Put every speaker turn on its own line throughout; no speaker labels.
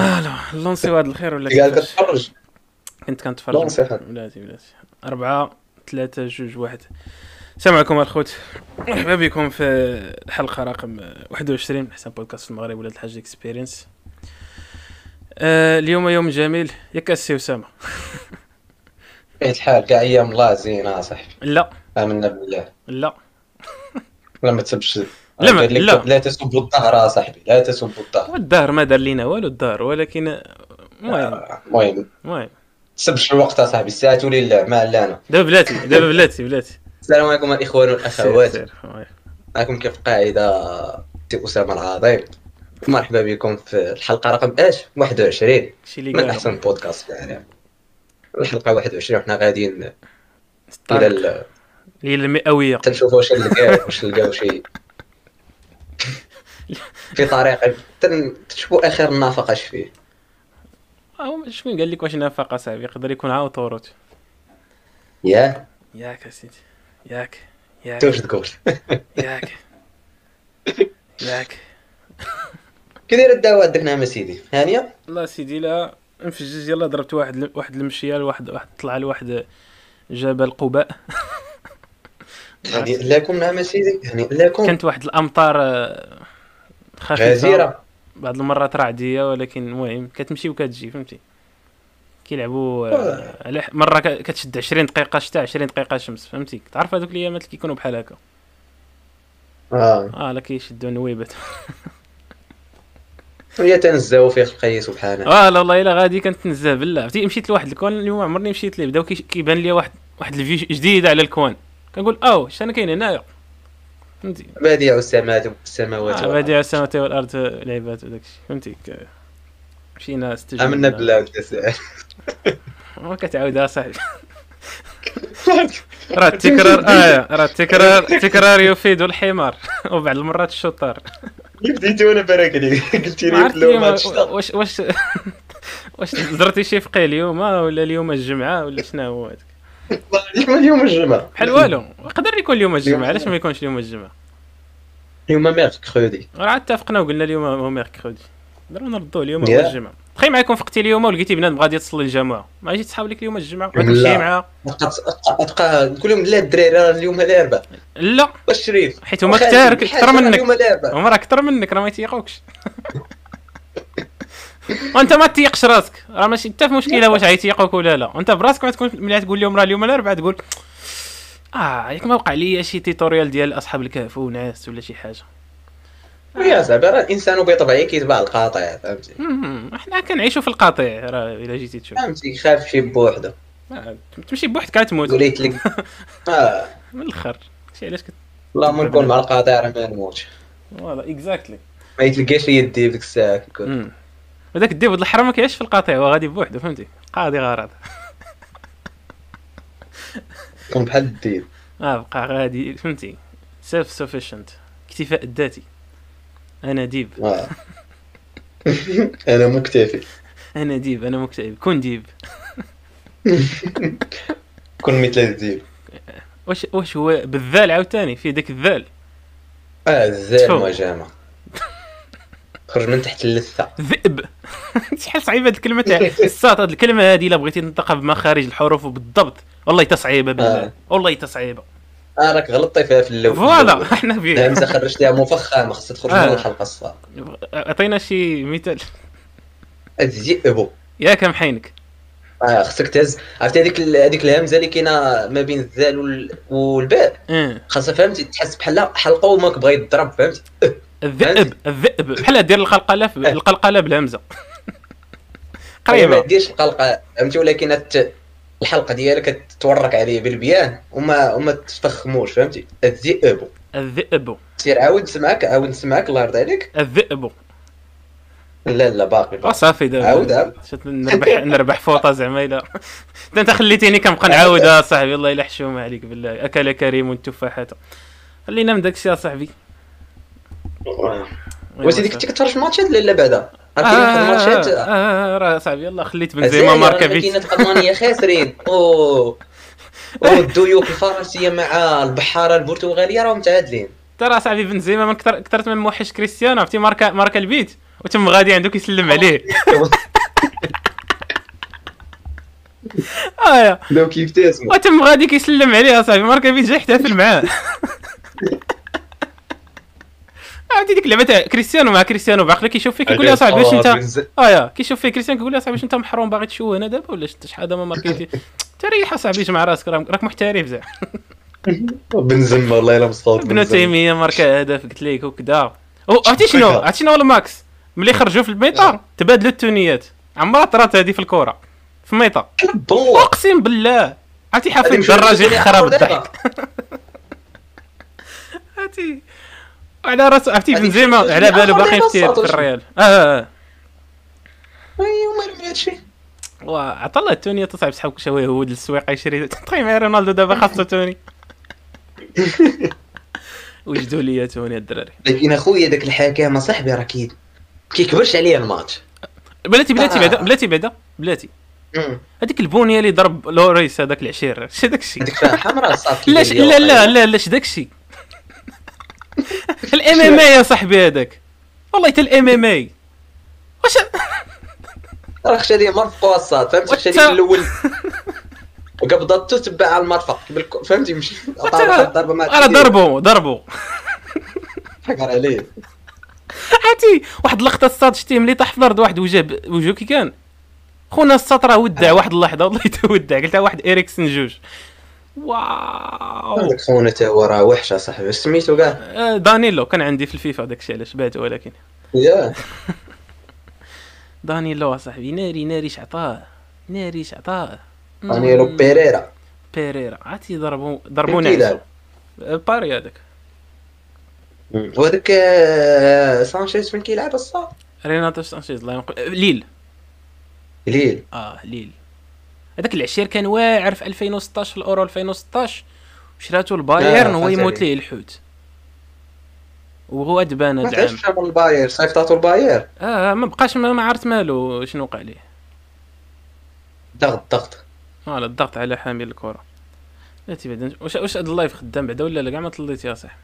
الو لونسي واحد الخير ولا
قاعد
كيفاش؟
كتفرج
كنت كنتفرج
لونسي هاد.
بلاتي بلاتي أربعة ثلاثة جوج واحد السلام عليكم الخوت مرحبا بكم في الحلقة رقم 21 من أحسن بودكاست في المغرب ولاد الحاج اكسبيرينس آه اليوم يوم جميل ياك السي أسامة
بيت الحال كاع ايام الله زينه آه، صاحبي
لا
امنا بالله
لا
ولا ما تسبش
لا، ما-
قال لك
لا.
لا تسبوا الظهر آه، صاحبي لا تسبوا الظهر
الدار ما دار لينا والو الدار ولكن المهم
المهم
المهم
آه، تسبش الوقت آه، صاحبي ساعة تولي لا ما لانا
دابا بلاتي دابا بلاتي بلاتي
السلام عليكم الاخوان والاخوات
سير، سير، وي.
معكم كيف قاعده سي اسامه العظيم مرحبا بكم في الحلقه رقم اش 21
شي اللي
من
قالوا
احسن بودكاست في العالم الحلقه 21 وحنا
طيب.
غاديين الى
الطريق.
ال-
اللي هي المئوية
تنشوفوا واش نلقاو واش نلقاو شي في طريق تن- تشوفوا اخر النفق اش فيه
أو شكون قال لك واش نافقة صاحبي يقدر يكون عاود طوروت
يا
ياك اسيدي ياك
انت
ياك
واش تقول
ياك ياك
كي داير الدواء عندك نعم سيدي هانيه
والله سيدي لا انفجز يلا ضربت واحد واحد المشيه لواحد واحد طلع لواحد جبل قباء
هاني لكم نعم سيدي هاني لكم
كانت واحد الامطار آه، خفيفه
غزيره
بعض المرات رعديه ولكن المهم كتمشي وكتجي فهمتي كيلعبوا آه، على ح- مره ك- كتشد 20 دقيقه شتاء 20 دقيقه شمس فهمتي تعرف هذوك الايامات اللي كيكونوا بحال هكا
اه
اه لا كيشدوا نويبات
هي تنزاو فيه خلقي سبحانه
اه لا والله الا غادي كنتنزه بالله عرفتي مشيت لواحد الكوان اليوم عمرني مشيت ليه بداو كيش- كيبان لي واحد واحد الفيو جديد على الكوان كنقول او شحال كاين هنايا فهمتي
بديع السماوات السماوات
آه، بديع السماوات والارض لعبات وداك الشيء فهمتي ك- مشينا استجمنا
امنا بالله وانت ساعة.
ما كتعاودها صاحبي راه التكرار اه راه التكرار التكرار يفيد الحمار وبعض المرات الشطار
بديتي وانا بارك عليك قلتي
ما
لي
عرفت
لو
اليوم
ما تشتغل
واش واش واش درتي شي فقيه اليوم آه، ولا اليوم الجمعه ولا شنو هو هذاك
اليوم اليوم الجمعه
بحال والو يقدر يكون اليوم الجمعه علاش ما يكونش اليوم الجمعه
اليوم ميركودي
راه عاد اتفقنا وقلنا اليوم هو ميركودي ضروري نردو اليوم هو
يا.
الجمعه تخيل معاكم فقتي اليوم ولقيتي بنادم غادي تصلي الجماعه ما جيت تصحاب لك اليوم الجمعه ما
لا.
تمشي معاه
تبقى تقول لهم لا الدراري راه اليوم الاربعاء
لا
واش شريف
حيت هما كثار كثر منك
اليوم الاربعاء
هما راه كثر منك راه ما يتيقوكش وانت ما تيقش راسك راه ماشي حتى في مشكله واش غيتيقوك ولا لا انت براسك ما تكون ملي تقول لهم راه اليوم الاربعاء تقول اه ياك ما وقع لي شي تيتوريال ديال اصحاب الكهف وناس ولا شي حاجه
يا صاحبي راه الانسان بطبعه كيتباع القاطع فهمتي
مم، احنا كنعيشوا في القاطع راه الا جيتي تشوف
فهمتي خاف شي بوحده
ما- تمشي بوحدك كتموت
قلت لك اه
من الاخر شي علاش كت
لا ما نكون مع القاطع راه ما نموتش
فوالا اكزاكتلي
ما يتلقاش يدي في ديك الساعه كيكون
هذاك الديب ولد الحرام ما كيعيش في القاطع هو غادي بوحدو فهمتي قاضي غرض
كون بحال الديب
اه بقى غادي فهمتي سيلف سufficient اكتفاء الذاتي انا ديب
آه. انا مكتفي
انا ديب انا مكتئب كون ديب
كون مثل الديب
واش واش هو بالذال عاوتاني في داك الذال
اه الزين
تفو.
وجامه خرج من تحت اللثه
ذئب شحال صعيبه هاد الكلمه تاع الساط هاد الكلمه هادي الا بغيتي تنطقها بمخارج الحروف وبالضبط والله تا صعيبه بالله
آه.
والله تا صعيبه
اه راك غلطتي فيها في اللون
فوالا احنا فيه
الهمزه خرجتيها مفخمه خصها تخرج
آه.
من الحلقه الصفا
عطينا شي مثال
الذئب
ياك محينك
اه خصك تهز عرفتي هذيك ال- هذيك الهمزه اللي كاينه ما بين الذال وال- والباء
اه
خاصها فهمتي تحس بحال حلقه وماك بغا يضرب فهمتي
الذئب الذئب بحال دير القلقله في-
إيه.
القلقله بالهمزه
ما
قريبه
ديرش القلقه فهمتي ولكن الت- الحلقه ديالك تتورك عليه بالبيان وما وما تفخموش فهمتي الذئب
الذئب
سير عاود نسمعك عاود نسمعك الله يرضي عليك
الذئب
لا لا باقي باقي
وصافي دابا
عاود، عاود.
شفت نربح نربح فوطه زعما الا انت انت خليتيني كنبقى نعاود آه صاحبي الله يلا حشومه عليك بالله اكل كريم التفاحات خلينا من داك الشيء اصاحبي
واش هذيك كنت كتفرج ماتشات لا لا بعدا
آه،
راه كاين واحد
آه،
الماتشات
آه، آه، راه صاحبي يلا خليت بنزيما
الجزائر
ماركا
راه كاينه
فيت
في المانيا خاسرين اوه والديوك الفرنسيه مع البحاره البرتغاليه راهم متعادلين
ترى صاحبي بنزيما من كثر كثرت من موحش كريستيانو عرفتي ماركا ماركا البيت وتم غادي عندو كيسلم عليه اه يا.
بداو كيبتسموا
وتم غادي كيسلم عليه اصاحبي ما كان جاي يحتفل معاه عرفتي ديك اللعبه تاع كريستيانو مع كريستيانو بعقله كيشوف فيك كيقول لي اصاحبي واش انت ايا كيشوف فيه كريستيان كيقول لي اصاحبي واش انت محروم باغي تشوه هنا دابا ولا شت- شحال هذا ما ماركيتي تريح اصاحبي جمع راسك راه- راك محترف زعما
بنزم والله الا مصطوط
ابن تيميه ماركا هدف قلت لك وكذا أو عرفتي شنو
هكذا.
عرفتي شنو هو الماكس ملي خرجوا في الميطا
آه.
تبادلوا الثنيات عمرها طرات هذه في الكره في الميطا
بالله
اقسم بالله عرفتي حافظ
غادي نمشيو
الدراجي
نشوفوا
خراب
دابا.
الضحك عرفتي على راس عرفتي
غادي
بنزيما
نشوفوا
على باله
دابا
باقي
الصوت
يفتير في
وشنو.
الريال اه آه، آه.
اي ومالو من هادشي
وعطى الله توني تصعب سحب شويه هو للسويقه يشري تقي معايا طيب، رونالدو دابا خاصو توني وجدوا لي يا توني الدراري
لكن اخويا داك الحكام صاحبي راه كي كيكبرش عليا الماتش
بلاتي بلاتي
آه.
بعدا بلاتي بعدا بلاتي
مم.
هذيك البونيه اللي ضرب لوريس هذاك العشير اش هذاك الشيء
هذيك فيها حمراء صافي
لا ش- لا لا لا لا اش داك الشيء الام ام اي يا صاحبي هذاك والله حتى الام ام اي واش
راه خشى ليا مرفقه الصاد فهمت خشى
وتا-
ليا الاول وقبضته تبع على المرفق بالك- فهمتي مشي عطاه
وتا-
واحد الضربه ما
راه ضربو ضربو
حقر عليه
عرفتي واحد اللقطه الصاد شتيه ملي طاح في الارض واحد وجه ب- وجهه كي كان خونا الصاد راه ودع واحد اللحظه والله تا ودع قلتها واحد اريكسن جوج واو
هذاك خونا تا هو راه وحش اصاحبي واش سميتو كاع
آه، دانيلو كان عندي في الفيفا داكشي علاش بعت ولكن
يا
دانيلو صاحبي ناري ناري شعطاه ناري شعطاه مم.
دانييلو بيريرا
بيريرا عرفتي ضربوا
كيف
ضربونا
كيلعب
عزو. آه، باري هذاك
وهذاك آه، سانشيز فين كيلعب الصاد
ريناتو سانشيز الله ينقل آه، ليل
ليل
اه ليل هذاك العشير كان واعر في 2016 في الاورو 2016 وشراتو البايرن
آه،
هو
فهمت
يموت
عليك.
ليه الحوت وهو ادبان
ما
هاد العام
كانش شامل الباير صيفطاتو الباير
اه ما بقاش ما ما عرفت مالو شنو وقع ليه
ضغط ضغط
اه لا، الضغط على حامل الكره لا تبعد واش واش هاد اللايف خدام بعدا ولا لا كاع ما طليت يا صاحبي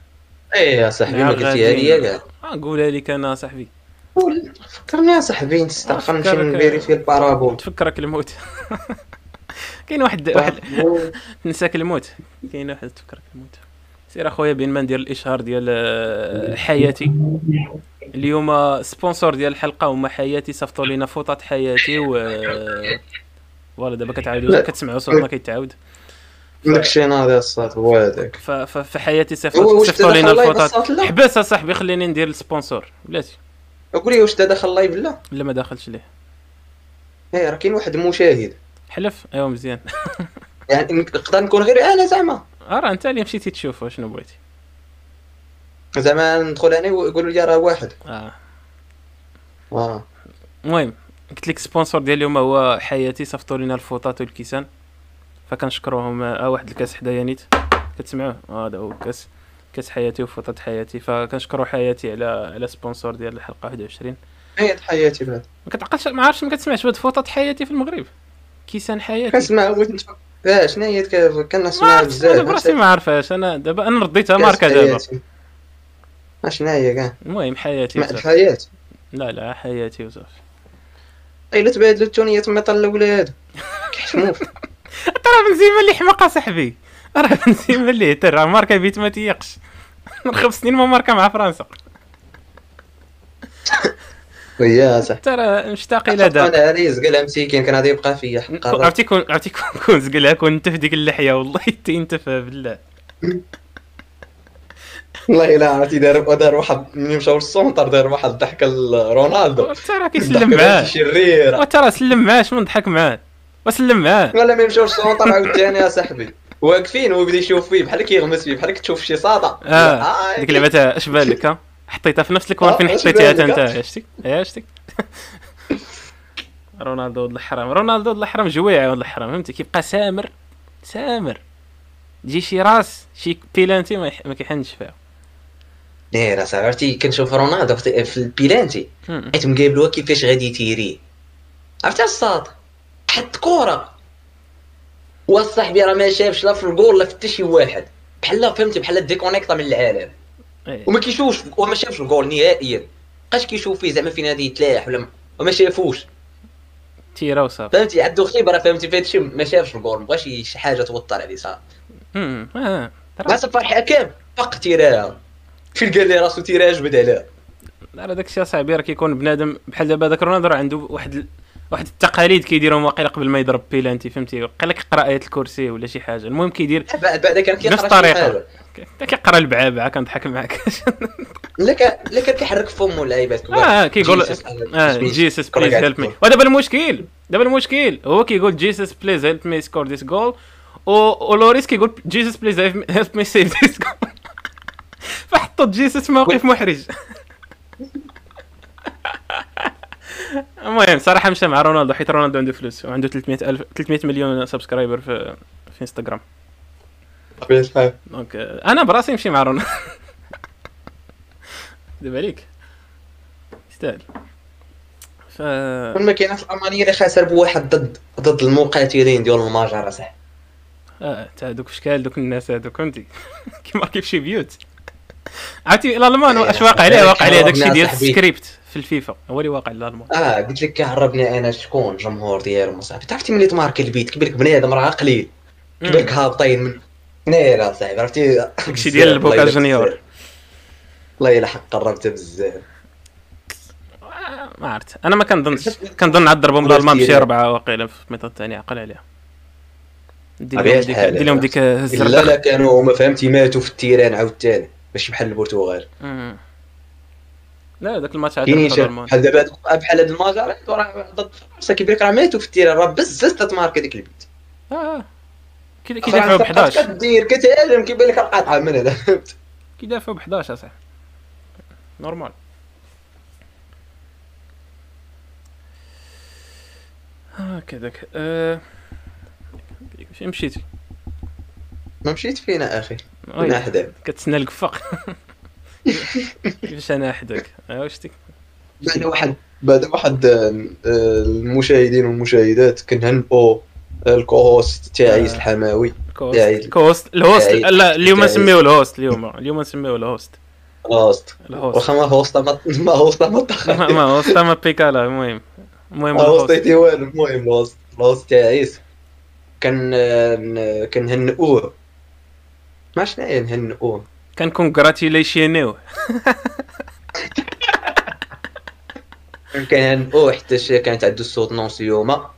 اي إيه يا صاحبي ما
نعم،
قلتيها ليا
غادي.
كاع
اه قولها لك انا صاحبي
قول- فكرني يا صاحبي نستخدم
أفكرك-
نمشي نفيريفي البارابول
تفكرك الموت كاين واحد
طيب.
واحد نساك الموت كاين واحد تفكرك الموت سير اخويا بين ما ندير الاشهار ديال آه، حياتي اليوم سبونسور ديال الحلقه هما حياتي صيفطوا لينا فوطات حياتي و آه، فوالا دابا كتعاودوا
لا.
كتسمعوا صوتنا كيتعاود
داك الشيء ناضي يا صاد هو هذاك
ف- ف- فحياتي
هو
صيفطوا
واش
صيفطوا
دا
لينا
دخل لايف
الفوطات
الصاد لا
حبس اصاحبي خليني ندير السبونسور بلاتي
قول لي واش دا دخل لايف لا
لا ما داخلش ليه
اي راه كاين واحد مشاهد
حلف ايوا مزيان
يعني نقدر نكون غير انا زعما
آه، راه انت اللي مشيتي تشوفه شنو بغيتي
زعما ندخل انا ويقولوا لي راه واحد
اه
آه.
المهم قلت لك سبونسور ديال اليوم هو حياتي صيفطوا لنا الفوطات والكيسان فكنشكروهم اه واحد الكاس حدايا نيت كتسمعوه آه، هذا هو الكاس كاس حياتي وفوطات حياتي فكنشكروا حياتي على على سبونسور ديال الحلقه 21
هي حياتي بعد
ما كتعقلش ما عرفتش ما كتسمعش بعد فوطات حياتي في المغرب كيسان حياتي
كنسمع بغيت نتفكر اه شنو هي ك-
ما
كنسمع
عرفتش انا براسي
بزاف
ما عرفهاش انا دابا انا رديتها ماركه دابا
شنو هي كاع
المهم حياتي
مع
وصافي
الحياه
لا لا حياتي وصافي
اي لا تبادلوا التونيه تما طلع الاولاد كيحشموا
ترى بنزيما اللي حماق اصاحبي راه بنزيما اللي هتر راه ماركا بيت ما تيقش من خمس سنين ما ماركا مع فرنسا
ويا صح
ترى مشتاق الى دا
انا ريز قال مسكين كان غادي يبقى فيا حق الرب.
عرفتي كون عرفتي كون كون زقلها كون انت في ديك اللحيه والله حتى انت فيها بالله
والله الا عرفتي دار دار واحد ملي مشاو للسونتر دار واحد الضحكه لرونالدو
ترى كيسلم معاه
شريره
وترى سلم معاه شنو ضحك معاه وسلم معاه
ولا ملي مشاو للسونتر عاود ثاني يا صاحبي واقفين هو بدا يشوف فيه بحال كيغمس فيه بحال كتشوف شي صاطا
اه ديك اللعبه تاع اش بالك ها حطيتها في نفس الكوان
آه،
فين
أش
حطيتيها تا
بالك،
انت
آه.
عشتي إيه، عشتي رونالدو ولد الحرام رونالدو ولد الحرام جويع ولد الحرام فهمتي كيبقى سامر سامر تجي شي راس شي بيلانتي ما, يح... ما كيحنش فيها
نير أصاحبي، عرفتي إيه كنشوف رونالدو في في البيلانتي
هم.
حيت مقابلوها كيفاش غادي يتيري عرفتي الصاد حط كوره وصاحبي راه ما شافش لا في الجول لا في حتى شي واحد بحال فهمتي بحال ديكونيكتا من العالم
إيه.
وما كيشوفش وما شافش الجول نهائيا بقاش كيشوف فيه زعما في نادي يتلاح ولا ما- وما شافوش
تيرا وصافي
فهمتي عنده خبره فهمتي في هادشي ما شافش الجول ما بغاش شي حاجه توتر عليه صافي
امم اه
مع
ترى
صفر الحكام فق تيراها فين قال لي راسو تيراها جبد عليها
ترى داك الشيء اصاحبي راه كيكون بنادم بحال دابا داك رونالدو راه عنده واحد ال- واحد التقاليد كيديرهم واقيلا قبل ما يضرب بيلانتي فهمتي قال لك قرا ايه الكرسي ولا شي حاجه المهم كيدير
بعد بعد كان
نفس
كيقرا شي
الطريقه
حاجه
ك- كيقرا البعابعه كنضحك معاك
لا كان لا كان كيحرك فمو اللعيبات كبار.
اه آه، كيقول
Jesus, uh,
اه
please.
جيسس
كرة
بليز
قاعدة
هيلب مي ودابا المشكل دابا المشكل هو كيقول جيسس بليز هيلب مي سكور ذيس جول Oh, ولوريس كيقول جيسس بليز هيلب مي سيف ذيس جول فحطوا جيسس في موقف محرج المهم صراحه مشى مع رونالدو حيت رونالدو عنده فلوس وعنده 300 الف 300 مليون سبسكرايبر في في انستغرام
تقول.
دونك آه، انا براسي نمشي مع رونالدو دابا عليك يستاهل ف
كل ما كاينه في الالمانيه اللي خاسر بواحد ضد ضد المقاتلين ديال المجر اصاحبي
اه تاع دوك اشكال دوك الناس هذوك كنتي كيما كيف شي بيوت عرفتي الالمان
أيوة.
واش واقع عليه واقع عليه داكشي
جربنا
ديال
صاحبي.
السكريبت في الفيفا هو اللي واقع للالمان
اه قلت لك كهربني انا شكون الجمهور ديالهم اصاحبي تعرفتي ملي تمارك البيت كبير لك بنادم راه قليل كبير لك هابطين من نير اصاحبي عرفتي
داكشي ديال
بزاف، الله
البوكا
يلا
جونيور.
بزاف. الله الا حق قربت بزاف
آه، ما عرفت انا ما كنظنش كنظن عاد ضربهم الالمان بشي اربعه واقيلا في الميطاد الثاني عقل عليها دير لهم
أبيض
ديك
حالة.
دير لهم ديك
الا لا
الزرده
كانوا هما فهمتي ماتوا في التيران عاوتاني ماشي بحال البرتغال
مم. لا داك الماتش عاد
كاينين
ربحوا
شي-
الالمان
بحال دابا هاد- بحال هاد المجر راه ضد فرنسا كبير لك راه ماتوا في التيران راه بزاف تتمارك هذيك البيت
اه كي كي دافعوا ب
فرنسا بقات
11
كدير كتهاجم كيبان لك القطعه من هذا فهمت
كي دافعوا ب 11 اصاحبي نورمال هكذاك آه... فين مشيتي؟
ما مشيت فين اخي
أوي،
انا حدا
كتسنى القفاق كيفاش انا احدك آه، واش تك-
بعد واحد بعد واحد آه، آه، المشاهدين والمشاهدات كنهنئوا الكوهوست تاعيس الحماوي
كوست كوست الهوست
تعيد.
لا اليوم
تعيد.
نسميه الهوست اليوم اليوم نسميه الهوست
هوست
الهوست
واخا ما هوست ما ما هوست ما
ما ما
تخيل
هوست ما بيكالا المهم المهم
ما
الهوست
هوستيتي والو المهم الهوست الهوست تاعيس كان آه، كنهنئوه ما عرفت شناهي نهنئوه
كان كونغراتيليشينيو
كان او حتى شي كانت عنده الصوت نونسيوما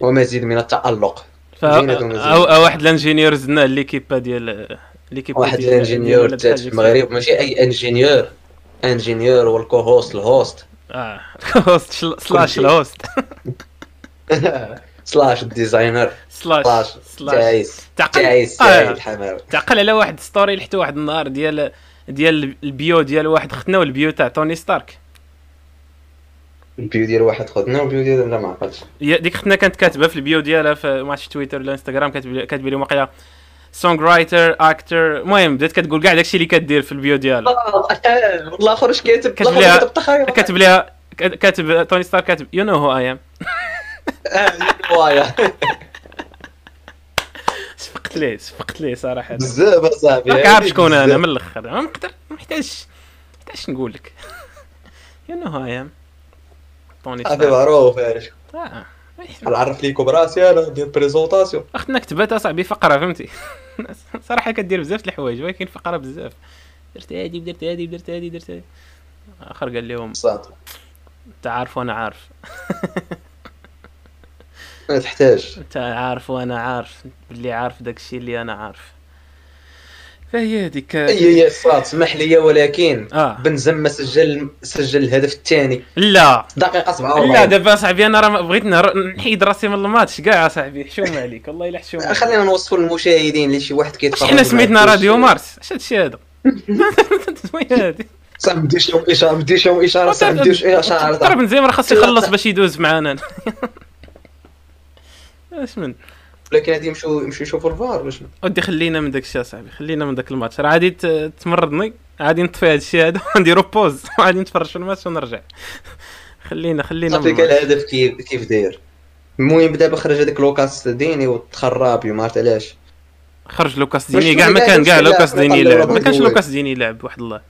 ومزيد من التألق زينة ومزيد.
او واحد الانجينيور زدناه ليكيبا ديال ليكيبا
واحد
ديال-
الانجينيور
ديال
تاع
الحاج
المغرب ماشي اي انجينيور انجينيور والكو هوست الهوست
اه الهوست شل- سلاش الهوست
سلاش الديزاينر
سلاش
سلاش
سلاش
تعيس
تعقل-
تعيس
آه.
تعيس الحمام
تعقل على واحد ستوري لحتو واحد النهار ديال ديال البيو ديال واحد ختنا والبيو تاع توني ستارك
البيو ديال واحد خدنا والبيو ديال لا ما عقلتش
هي- ديك ختنا كانت كاتبه في البيو ديالها في ما عرفتش تويتر ولا انستغرام كاتب- كاتبه لهم واقيلا سونغ رايتر اكتر المهم بدات كتقول كاع داكشي اللي كدير في البيو ديالها
والله اخر اش آه، كاتب
كاتب
والله
ليها-
كاتب تخيل
كاتب لها كاتب توني ستارك كاتب يو نو هو اي ام
آه، وايا
صفقت ليه صفقت ليه صراحه
بزاف اصاحبي
راك عارف شكون انا من الاخر ما نقدر ما محتاجش ما محتاجش نقول لك يو نو هاي ام توني
صافي
ستارك.
معروف يعني. عارف
آه.
نعرف ليكم راسي انا ندير بريزونطاسيون
اختنا كتبات اصاحبي فقره فهمتي صراحه كدير بزاف د الحوايج ولكن فقره بزاف درت هادي ودرت هادي ودرت هادي درت هادي اخر قال لهم
صافي
انت عارف وانا عارف
ما تحتاج
انت عارف وانا عارف باللي عارف داكشي اللي انا عارف فهي هذيك
اي يا صاد اسمح لي ولكن
آه.
بنزيما سجل سجل الهدف الثاني
لا
دقيقه 47
لا دابا صاحبي انا راه ما- بغيت نهر- نحيد راسي من الماتش كاع صاحبي حشومه عليك والله الا حشومه عليك.
خلينا نوصفوا للمشاهدين اللي شي واحد
واش
كيتفرج
حنا سميتنا راديو مارس اش هادشي هذا شوية هادي
صح ما نديرش لهم اشاره ما نديرش لهم اشاره صح ما نديرش اشاره
ترى
صح.
بنزيما راه خاصو يخلص باش يدوز معانا اش من
ولكن هادي يمشوا يمشوا يشوفوا الفار ولا شنو
ودي خلينا من داك الشيء اصاحبي خلينا من داك الماتش راه غادي ت- تمرضني غادي نطفي هاد الشيء هذا ونديرو بوز وغادي نتفرج في الماتش ونرجع خلينا خلينا من
صافي كان
الماتش.
الهدف كيف كيف داير المهم دابا خرج هذاك لوكاس ديني وتخرابي ما عرفت علاش
خرج لوكاس
واش
ديني كاع ما
ولا
كان كاع
لا،
لوكاس
لا،
ديني
لا،
يلعب
لا،
ما كانش
لا.
لوكاس ديني يلعب واحد الله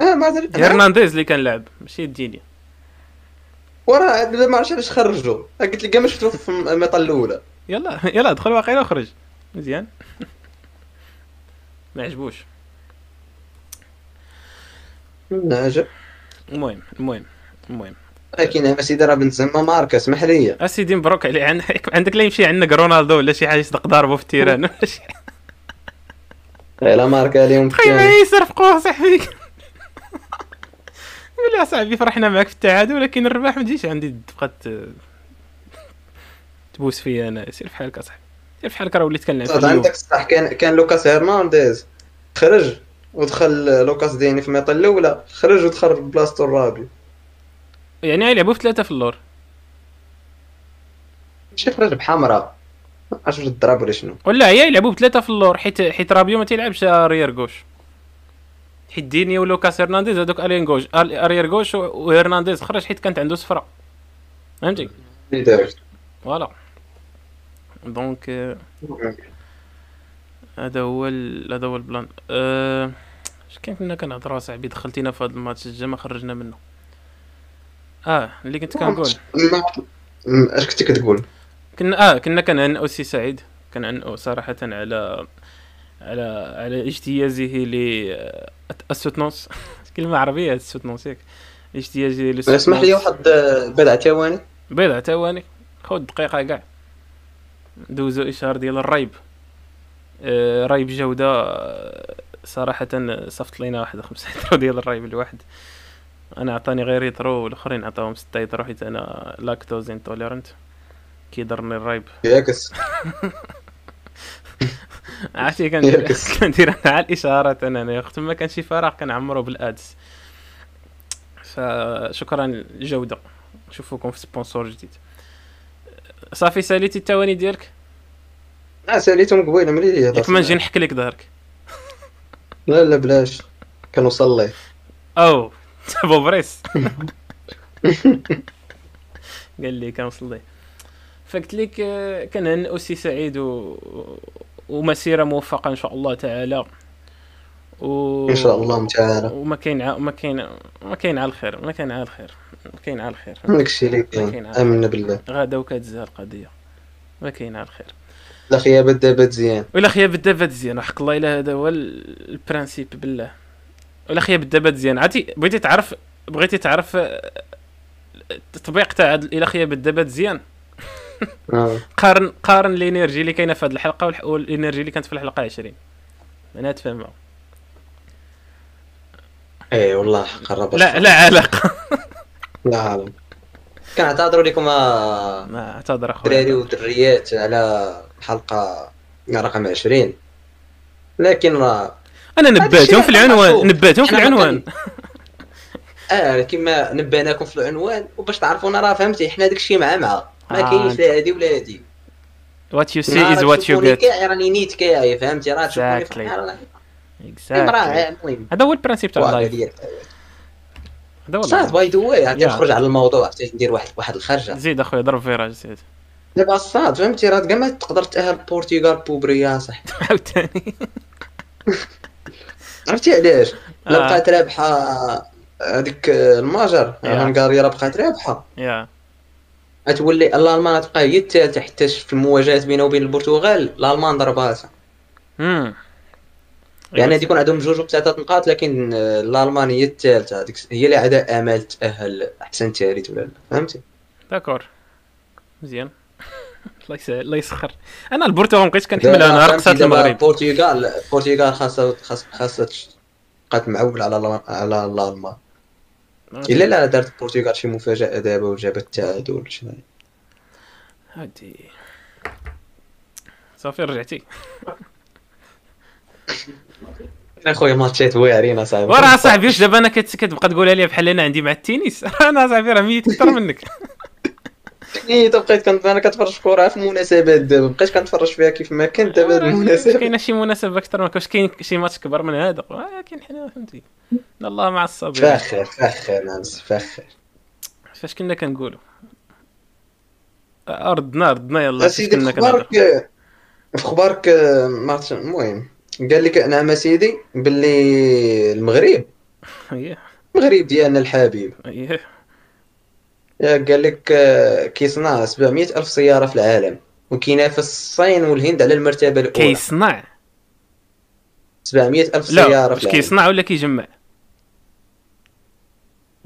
اه ما درت
هرنانديز اللي كان لعب ماشي ديني
وراه بلا ما عرفتش علاش خرجوه قلت لك ما شفتو في الميطا الاولى
يلا يلا دخل واقيلا وخرج مزيان ما عجبوش
نعجب
المهم المهم المهم
لكن يا سيدي راه بنت زعما ماركه اسمح لي
اسيدي مبروك عليه عندك عندك لا يمشي عندك رونالدو ولا شي حاجه يصدق ضاربه في التيران ولا شي
لا ماركه اليوم
تخيل ما يصرفقوه صاحبي يقول له صاحبي فرحنا معك في التعادل ولكن الرباح ما تجيش عندي تبقى ت- تبوس فيا انا سير في حالك اصاحبي سير في حالك راه وليت كنلعب كل
صاد
يوم.
عندك الصح كان كان لوكاس هيرنانديز خرج ودخل لوكاس ديني في الميطا الاولى خرج ودخل بلاصتو الرابي
يعني يلعبوا في ثلاثه في اللور
شي خرج بحمراء ما عرفتش واش ضرب ولا شنو
ولا هي يلعبوا بثلاثه في اللور حيت حيت رابيو ما تيلعبش اريير غوش حيت ديني ولوكاس هرنانديز هذوك اريير غوش اريير غوش و- وهرنانديز خرج حيت كانت عنده صفرة فهمتي
اللي دارت
فوالا دونك آه، هذا هو ال- هذا هو البلان آه، اش كان كنا كنهضروا صاحبي دخلتينا في هذا الماتش الجا ما خرجنا منه اه اللي كنت كنقول
ما- م- اش كنت كتقول
كنا اه كنا كنهنئو سي سعيد كنهنئو صراحة على على على اجتيازه ل السوتنونس كلمة عربية السوتنونس ياك اجتيازه للسوتنونس
إيه، اسمح لي واحد آه، بضع ثواني
بضع ثواني خود دقيقة كاع دوزو إشهار ديال الريب آه، ريب جودة آه، صراحة صفت لينا واحد خمسة يترو ديال الريب الواحد أنا عطاني غير يترو والآخرين عطاهم ستة يترو حيت أنا لاكتوز انتوليرنت كيضرني الريب
ياكس
عرفتي كندير
يعكس.
كندير انا على الاشارات انا انا وقت ما كان شي فراغ كنعمرو بالادس فشكرا الجوده نشوفكم في سبونسور جديد صافي ساليتي التواني ديالك
اه ساليتهم قبيله ملي لي
ياك ما نجي نحك لك ظهرك
لا لا بلاش كنوصل ليه
او بو بريس قال لي كنوصل ليه فقلت لك آه، كنهنئو سي سعيد و... ومسيره موفقه ان شاء الله تعالى و...
ان شاء الله تعالى
وما كاين ع- ما كاين ما كاين على الخير ما كاين على الخير ما كاين على الخير
داك الشيء اللي كاين
كاين عارف.
امنا بالله
غدا وكتزهى القضيه ما كاين على الخير
لا خيابه دابا مزيان
ولا خياب الدابه مزيان وحق الله الا هذا هو ال- البرانسيب بالله ولا خياب الدابه مزيان عرفتي بغيتي تعرف بغيتي تعرف آه، التطبيق تاع هاد الا خياب الدابه مزيان
آه.
قارن قارن الانرجي اللي كاينه في هذه الحلقه والح- والانرجي اللي كانت في الحلقه 20 انا تفهمها
اي إيه، والله حق الربط
لا لا علاقه
لا عالم كنعتذروا لكم آه،
ما اعتذر
الدراري
اخويا
والدريات على حلقه رقم 20 لكن آه، راه
انا
هذا
نبهتهم
الشيء
في العنوان
معروف.
نبهتهم في
إحنا ما
العنوان
اه كما نباناكم في العنوان وباش تعرفونا راه فهمتي حنا داكشي مع مع
آه،
ما كاينش لا هادي ولا هادي
وات يو سي
نهار
از وات يو
تشوفوني
جيت
كاعي راني نيت كاعي فهمتي راه تشوفوني
Exactly.
فرحان، راه- امراه المهم
إيه، هذا هو البرانسيب تاع
وهذا
اللايف
ديال-
هذا هو
صاد
اللايف.
باي ذا واي عرفتي
Yeah.
نخرج على الموضوع عرفتي ندير واحد واحد الخرجه
زيد اخويا ضرب فيراج زيد
دابا صاد فهمتي راه كاع ما تقدر تاهل البرتغال بوبريا صح
عاوتاني
عرفتي علاش لا
آه.
بقات رابحه هذيك المجر هنغاريا راه بقات رابحه
يا
غتولي الالمان تبقى هي الثالثه حتى في المواجهات بينها وبين البرتغال الالمان ضرباتها
امم أيوة.
يعني غادي يكون عندهم جوج وثلاثه نقاط لكن آه، الالمان هي الثالثه هذيك هي اللي عندها امل تاهل احسن ثالث ولا لا فهمتي
داكور مزيان الله يسهل الله يسخر انا البرتغال مابقيتش كنحملها
دابا
انا
فهمتي
رقصات
دابا
المغرب
البرتغال البرتغال خاصها خاص خاصها تش- بقات معول على الأل- على الالمان الا لا دارت البرتغال شي مفاجاه دابا وجابت التعادل شنو
هادي صافي رجعتي
اخويا ماتشات واعرين اصاحبي
وراه صاحبي واش دابا انا كت- كتبقى تقولها لي بحال انا عندي مع التنس انا صاحبي راه ميت اكثر منك
ايه دابا بقيت كنت انا كنتفرج في كره في المناسبات دابا بقيت كنتفرج فيها كيف ما كنت دابا هاد المناسبه
كاينه شي مناسبه اكثر ما كاش كاين شي ماتش كبر من هذا ولكن حنا فهمتي الله مع الصابرين
فاخر فاخر ناس فاخر
فاش كنا كنقولوا آه، ردنا ردنا يلا فاش
اسيدي
كنا
في
كنهضر
خبارك في خبارك ماتش المهم قال لك نعم اسيدي باللي المغرب
ايه
المغرب ديالنا الحبيب
ايه
قال لك آه، كيصنع 700 ألف سيارة في العالم وكينافس الصين والهند على المرتبة الأولى
كيصنع
700 ألف
لا
سيارة في
واش
العالم
كيصنع ولا كيجمع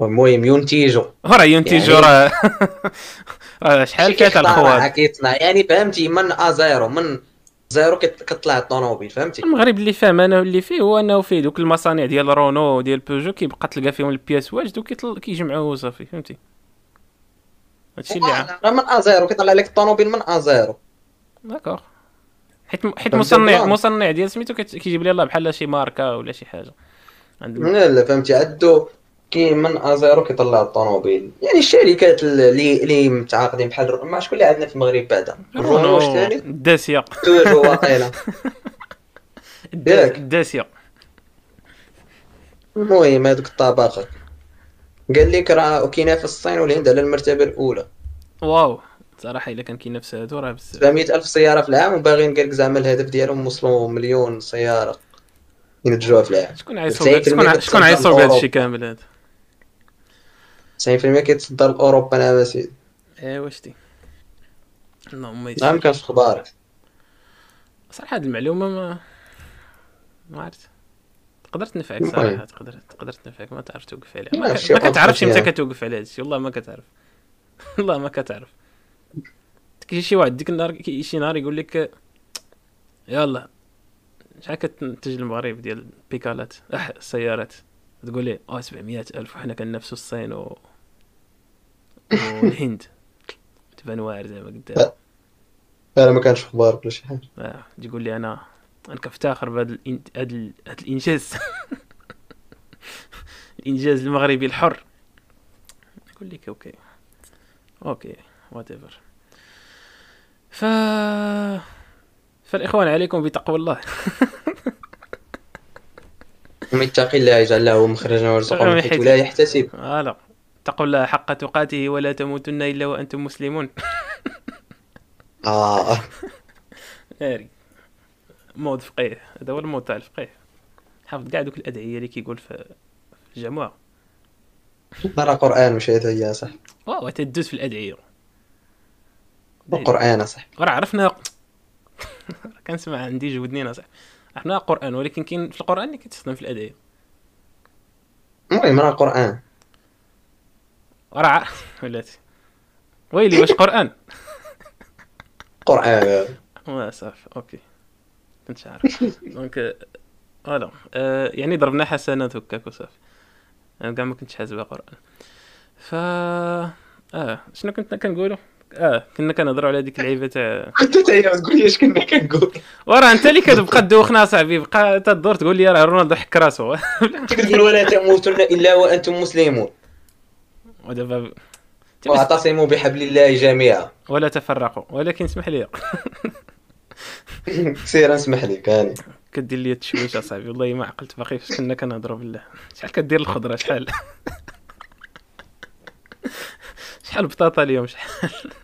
المهم ينتجوا
هو راه ينتجوا
يعني-
راه راه شحال كانت
كيخترعها
الخوات
كيصنع يعني فهمتي من ا زيرو من زيرو كت- كطلع الطوموبيل فهمتي
المغرب اللي فاهم انا واللي فيه هو انه فيه دوك المصانع ديال رونو وديال بوجو كيبقى تلقى فيهم البياس واجد وكيطل كيجمعوه وصافي فهمتي هادشي اللي عا
راه من ا زيرو كيطلع لك الطوموبيل من ا زيرو
داكوغ حيت حيت
فهمت
مصنع
البلان.
مصنع ديال سميتو كت- كيجيب لي الله بحال شي ماركه ولا شي حاجه عند
لا لا فهمتي عدو كي من ا زيرو كيطلع الطوموبيل يعني الشركات اللي اللي متعاقدين بحال مع شكون اللي عندنا في المغرب بعدا
نعم.
رونو واش
رونو
ثاني
الداسيه
توجو واقيلا ياك؟
الداسيه
المهم هذوك الطبقه قال لك راه كينافس الصين والهند على المرتبه الاولى
واو صراحه الا كان كينافس هادو راه بس
700 الف سياره في العام وباغيين قال لك زعما الهدف ديالهم وصلوا مليون سياره ينتجوها في العام
شكون عيصوب هاد- شكون ع-
90%
شكون عيصوب
كتصدر
هادشي كامل هذا
90% كيتصدر لاوروبا انا سيدي
ايوا شتي إيه، اللهم يسر
نعم كان في اخبارك
صراحه هاد المعلومه ما ما عرفت تقدر تنفعك
المهم.
صراحه تقدر تقدر تنفعك ما تعرف توقف عليها ما,
لا،
ك...
طيب. شي
ما
وقت
كتعرفش
فيها.
متى كتوقف على هادشي والله ما كتعرف والله ما كتعرف كاين شي واحد ديك النهار كي- شي نهار يقول لك يلا شحال كتنتج المغرب ديال بيكالات اح السيارات تقول لي اه 700 الف وحنا كننافسوا الصين و... والهند تبان واعر زعما قدام
انا ما كانش اخبارك ولا شي حاجه
آه، تقول لي انا انا كنفتخر بهذا الإن... هاد ال... هاد الانجاز الانجاز المغربي الحر نقول لك اوكي اوكي وات ايفر ف فالاخوان عليكم بتقوى الله
ومن يتقي الله يجعل له مخرجا ويرزقه من حيث لا يحتسب
فوالا آه، اتقوا الله حق تقاته ولا تموتن الا وانتم مسلمون
اه
ناري مود فقيه هذا هو المود تاع الفقيه حافظ كاع دوك الادعيه اللي كيقول في في الجماعه
راه قران مش هذا هي صح
واو تدوز في الادعيه
القران صح
راه عرفنا كنسمع عندي جودني نصح عرفنا قران ولكن كاين في القران اللي كتستخدم في الادعيه
المهم راه قران
راه ع- ولاتي ويلي واش قران
قران
وا صافي اوكي كنت عارف دونك آه، فوالا آه، يعني ضربنا حسنات هكاك وصافي انا كاع ما كنتش حاسبها قران ف اه شنو كنت كنقولوا اه كنا كنهضروا على ديك اللعيبه تاع
كنت تقول لي اش كنا كنقول
وراه انت اللي كتبقى دوخنا صاحبي بقى تدور تقول لي راه رونالدو حك راسو
تقول ولا تموتن الا وانتم مسلمون
ودابا
واعتصموا بحبل الله جميعا
ولا تفرقوا ولكن اسمح لي
سير اسمح لي كاني
كدير لي تشويش اصاحبي والله ما عقلت باقي فاش كنا كنهضروا بالله شحال كدير الخضره شحال شحال بطاطا اليوم شحال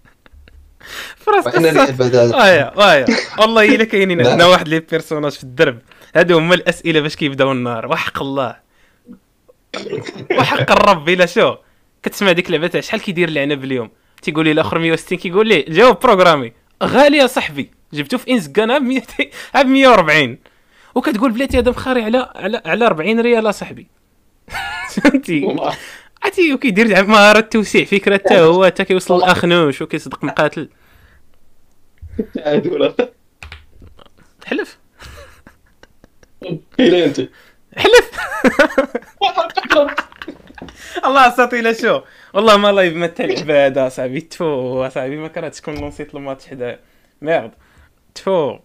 فراس
وحنا اللي
قصه
عباد هذا
ايا ايا والله الا كاينين عندنا واحد لي بيرسوناج في الدرب هادو هما الاسئله باش كيبداو النهار وحق الله وحق الرب الا شو كتسمع ديك اللعبه تاع شحال كيدير العنب اليوم تيقول لي الاخر 160 كيقول لي جاوب بروغرامي غالي يا صاحبي جبتو في انسكان ب 200 ب 140 وكتقول بلاتي هذا مخاري على على على 40 ريال اصاحبي فهمتي
والله
عرفتي وكيدير مهارة توسيع فكرة حتى هو حتى كيوصل الاخنوش وكيصدق مقاتل
عاد ولا
حلف
الى انت
حلف الله ساطي لا شو والله ما لايف ما تلعب هذا صاحبي تفو صاحبي ما كرهتش كون لونسيت الماتش حدايا ميرد تفو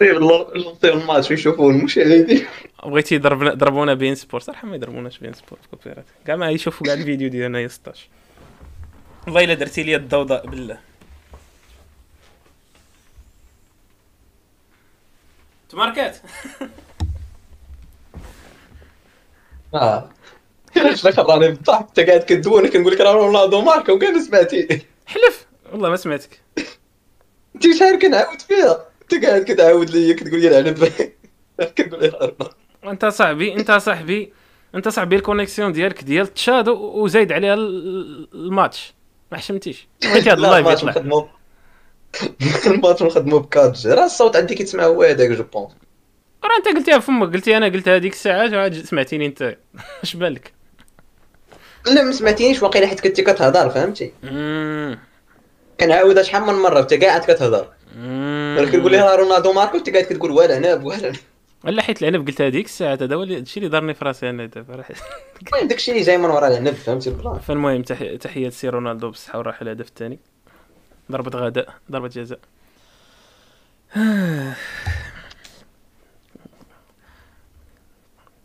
طيب نطيب الماتش ويشوفوا المشاهدين
بغيتي يضربنا ضربونا بين سبور صراحه ما يضربوناش بين سبور في كوبيرات كاع ما يشوفوا كاع الفيديو ديالنا يا 16 والله الا درتي لي الضوضاء بالله تماركات
اه علاش راني بالضحك انت قاعد كدوي كنقول لك راه رونالدو ماركا وكاع ما سمعتي
حلف والله ما سمعتك
انت شحال كنعاود فيها انت قاعد كتعاود ليا كتقول لي العنب كنقول لك رونالدو
انت صاحبي انت صاحبي انت صاحبي الكونيكسيون ديالك ديال تشاد و- وزايد عليها ال- الماتش ما حشمتيش بغيتي هذا
لا،
اللايف
الماتش
يطلع
نخدمو الماتش نخدمو بكاتج راه الصوت عندي كيتسمع هو هذاك جو بونس
راه انت قلتيها فمك قلتي انا قلتها هذيك الساعات وعاد سمعتيني انت اش بالك
لا ما سمعتينيش واقيلا حيت كنتي كتهضر فهمتي
مم.
كنعاودها شحال من مره انت قاعد كتهضر
مم.
انا كتقول لي راه رونالدو ماركو انت قاعد كتقول ولا عنب ولا عنب.
ولا حيت العنب قلتها هذيك الساعات هذا هو اللي- الشيء اللي دارني في راسي انا دابا راه حيت-
المهم داكشي اللي جاي من ورا العنب فهمتي البلان
فالمهم تح- تحية سي رونالدو بالصحة والراحة الهدف الثاني ضربة غداء ضربة جزاء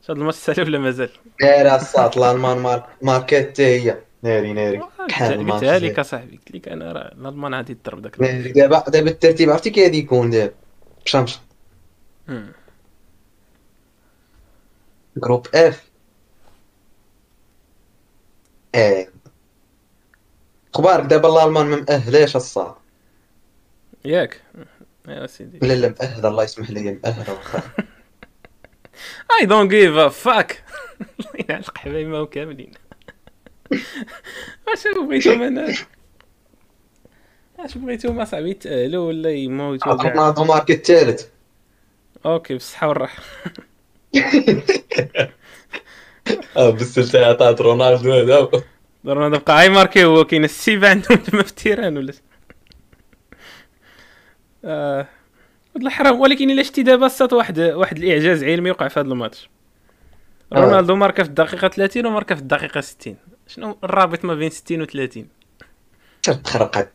شاد الماتش سالي ولا مازال؟
ناري الصاط الالمان مار- ماركات حتى هي ناري ناري كحل الماتش
قلتها لك
زين.
اصاحبي قلت لك انا راه الالمان غادي تضرب داك الماتش.
ناري دابا دابا الترتيب عرفتي كي غادي يكون دابا شمس
مم.
جروب اف اه اخبارك دابا الالمان ما مأهلاش الصاط
ياك ايوا سيدي
لا لا مأهل الله يسمح لي مأهل واخا.
اي دونت جيف ا فاك الله يعلق حبايبنا كاملين واش بغيتهم انا اش بغيتهم اصاحبي يتأهلوا ولا يموتوا
عاد
كاع
رونالدو مارك الثالث
اوكي بالصحة والراحة
اه بالسلسلة عطات رونالدو هذا
ضروري نبقى عاي ماركي هو كاين السيفة عندهم تما في التيران ولا اه ولد الحرام ولكن الا شتي دابا صات واحد واحد الاعجاز علمي وقع في هذا الماتش
آه.
رونالدو ماركا في الدقيقة 30 وماركا في الدقيقة 60 شنو الرابط ما بين 60 و 30
تخرقت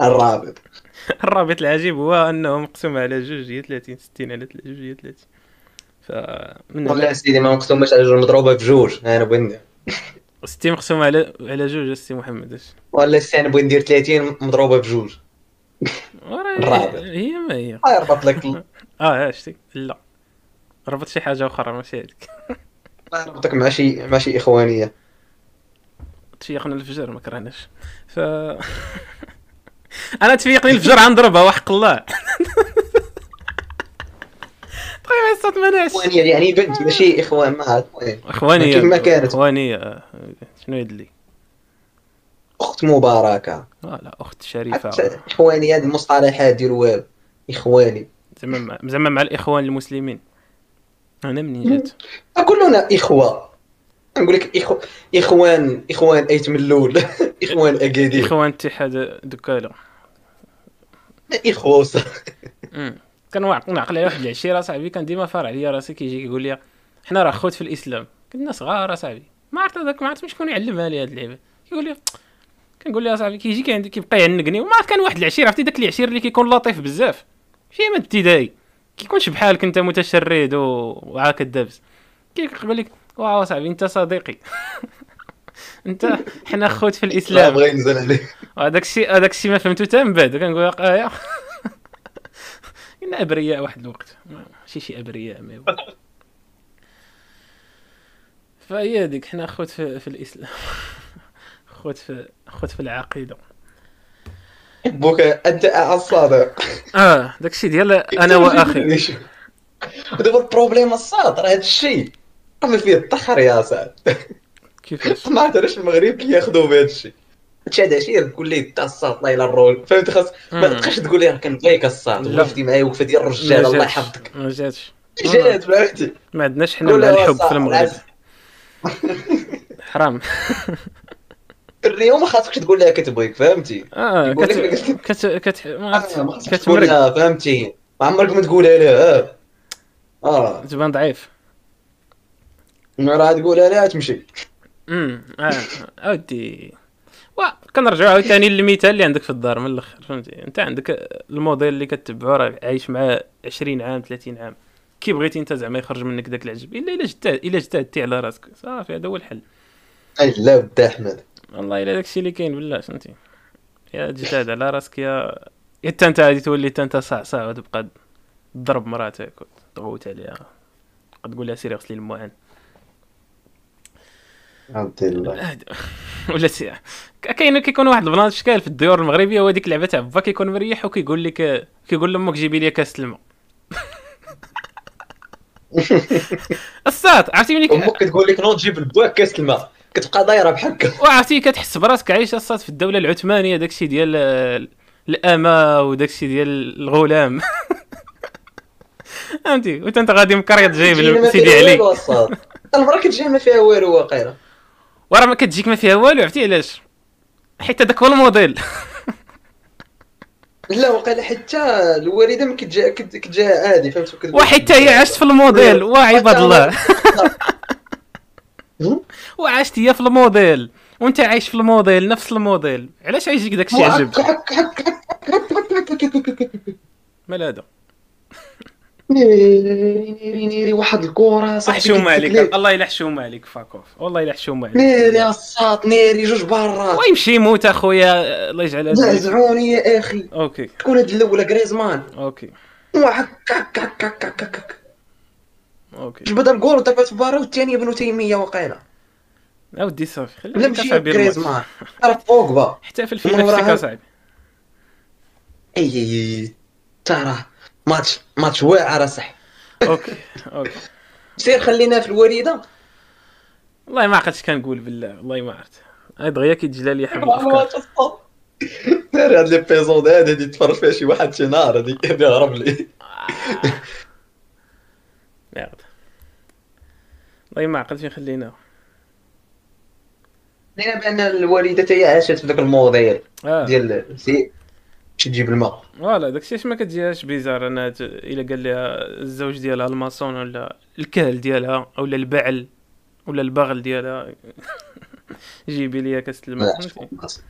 الرابط
الرابط العجيب هو انه مقسوم على جوج هي 30 60 على تل- جوج هي 30 ف من
والله سيدي ما مقسوماش على جوج مضروبة بجوج انا بغيت ندير
60 مقسوم على على جوج السي محمد اش
والله سي انا بغيت ندير 30 مضروبة بجوج
وراه
الرابط.
هي ما هي
اه يربط لك ال-
اه شتي لا ربط شي حاجه اخرى ماشي هذيك
الله يربطك مع شي مع شي اخوانية
تفيقنا الفجر ما كرهناش ف انا تفيقني الفجر غنضربها وحق الله تقريبا الصوت ما ناعش
اخوانية يعني بنت ماشي اخوان ما عاد المهم
اخوانيه
كيما كانت.
اخوانيه آه. شنو يد لي
اخت مباركة
آه لا اخت شريفه
حتى اخوانية هاد المصطلحات ديال واب اخواني
زعما مع- زعما مع الاخوان المسلمين انا منين جات
كلنا اخوه نقول لك إخو... اخوان اخوان ايت من الاول اخوان اكادير
اخوان اتحاد دكاله
اخوه وصح
أمم. كان واعق نعقل على واحد العشيره صاحبي كان ديما فار عليا راسي كيجي كيقول لي حنا راه خوت في الاسلام كنا صغار صاحبي ما عرفت هذاك ما عرفت شكون يعلمها لي هاد اللعبه كيقول لي كنقول لها صاحبي كيجي كيعند- كيبقى يعنقني وما عرفت كان واحد العشير عرفتي داك العشير اللي كيكون لطيف بزاف شي من ابتدائي كيكونش بحالك انت متشرد و- وعاك الدبس كيقبل لك واو صاحبي انت صديقي انت حنا خوت في
لا
الاسلام
بغا ينزل عليه
هذاك الشيء هذاك الشيء ما فهمتو حتى من بعد كنقول لك آه يا كنا ابرياء واحد الوقت ما- شي شي ابرياء ما هو فهي هذيك حنا خوت في, في الاسلام خوت في خوت في العقيده
بوك انت الصادق
اه داك الشيء ديال انا واخي
دابا البروبليم الصاد راه هذا الشيء راه ما فيه الطحر يا سعد
كيفاش
ما عرفت علاش المغرب كياخذوا بهذا الشيء هادشي هذا شيء تقول لي انت الصاد الله يلا الرول فهمت خاص ما
مم.
تبقاش تقول لي راه كنبغيك الصاد
لا.
وقفتي معايا وقفه ديال
ما
الرجال الله
جاتش-
يحفظك
ما جاتش
جات فهمتي
ما عندناش حنا
قول
مع
لها
الحب
صاحب،
في المغرب
العز-
حرام
الريو ما خاصكش تقول لها كتبغيك فهمتي
اه
يقول
كت
لك-
كت كت ما
آه، ما
عرفت
خاصكش تقول
كتمرق
لها فهمتي ما عمرك ما تقولها لها آه. اه
تبان ضعيف
ما راه تقولها لها تمشي
امم اه اودي وكنرجعوا عاوتاني للمثال اللي عندك في الدار من الاخر فهمتي انت عندك الموديل اللي كتبعو راه عايش معاه 20 عام 30 عام كي بغيتي انت زعما يخرج منك داك العجب الا الا جتهد الا جتهدتي على راسك صافي هذا هو الحل
اي لا بدا احمد
والله الا داكشي اللي كاين بالله فهمتي يا تجتهد على راسك يا يا حتى انت غادي تولي حتى انت صعصع وتبقى تضرب مراتك وتغوت عليها تقول لها سيري غسلي المعان
عبد الله
عاد- ولا سي كاين كيكون واحد البلان شكال في الديور المغربيه هو ديك اللعبه تاع با كيكون مريح وكيقول لك كيقول لامك جيبي لي كاس الماء الساط عرفتي ملي ك-
امك كتقول لك نو تجيب لباك كاس الماء كتبقى دايره بحال هكا
وعرفتي كتحس براسك عايش الساط في الدوله العثمانيه داكشي ديال ال- الامه وداكشي ديال الغلام فهمتي وانت انت غادي مكريط
تجينا
جايب
ما
سيدي
فيها
علي
والو الصاد. المرة كتجي ما فيها والو واقيلا
وراه ما كتجيك ما فيها والو عرفتي علاش حيت هذاك هو الموديل
لا واقيلا حتى الوالده ما كتجي كت- كتجي عادي فهمت كتقول-
وحتى هي عاشت في الموديل وعباد الله
هم؟
وعاشت هي في الموديل وانت عايش في الموديل نفس الموديل علاش عايجيك داكشي عجب
حك- حك- حك- حك- حك- حك- حك- حك- حك- حك-
مال هذا
نيري نيري نيري واحد الكره صاحبي
حشومه
كتسلك.
عليك الله الا حشومه عليك فاكوف والله الا حشومه
نيري
عليك
الساط نيري جوج برات
ويمشي يموت اخويا الله يجعل هذا
زعزعوني يا اخي
اوكي
تكون هاد الاولى غريزمان
اوكي
وحك- حك- حك- حك- حك- حك.
اوكي
جبد الجول ودابت بارا والثانيه بنو تيميه واقيلا
اودي صافي خلينا
لا
نتفاعل
ماشي
بالماتش
غريزمان راه بوجبا
احتفل في
ومن وراها-
نفسك اصاحبي
اي اي اي تا راه ماتش ماتش واعر صح
اوكي اوكي
سير خلينا في الوريده
والله ما عقلتش كنقول بالله والله ما عرفت هاد دغيا كيتجلى لي حب الافكار
دار هاد ليبيزود هادي اللي تفرج فيها شي واحد شي نهار هادي هادي هرب لي
مerde. والله ما عقلت فين خلينا
لقينا بان الوالده تاهي عاشت في ذاك الموديل
اه
ديال سي شي تجيب الماء
فوالا داكشي اش ما كتجيهاش بيزار انا ت- الا قال لها الزوج ديالها الماسون ولا الكهل ديالها ولا البعل ولا البغل ديالها جيبي ليا كاس الماء فهمتي؟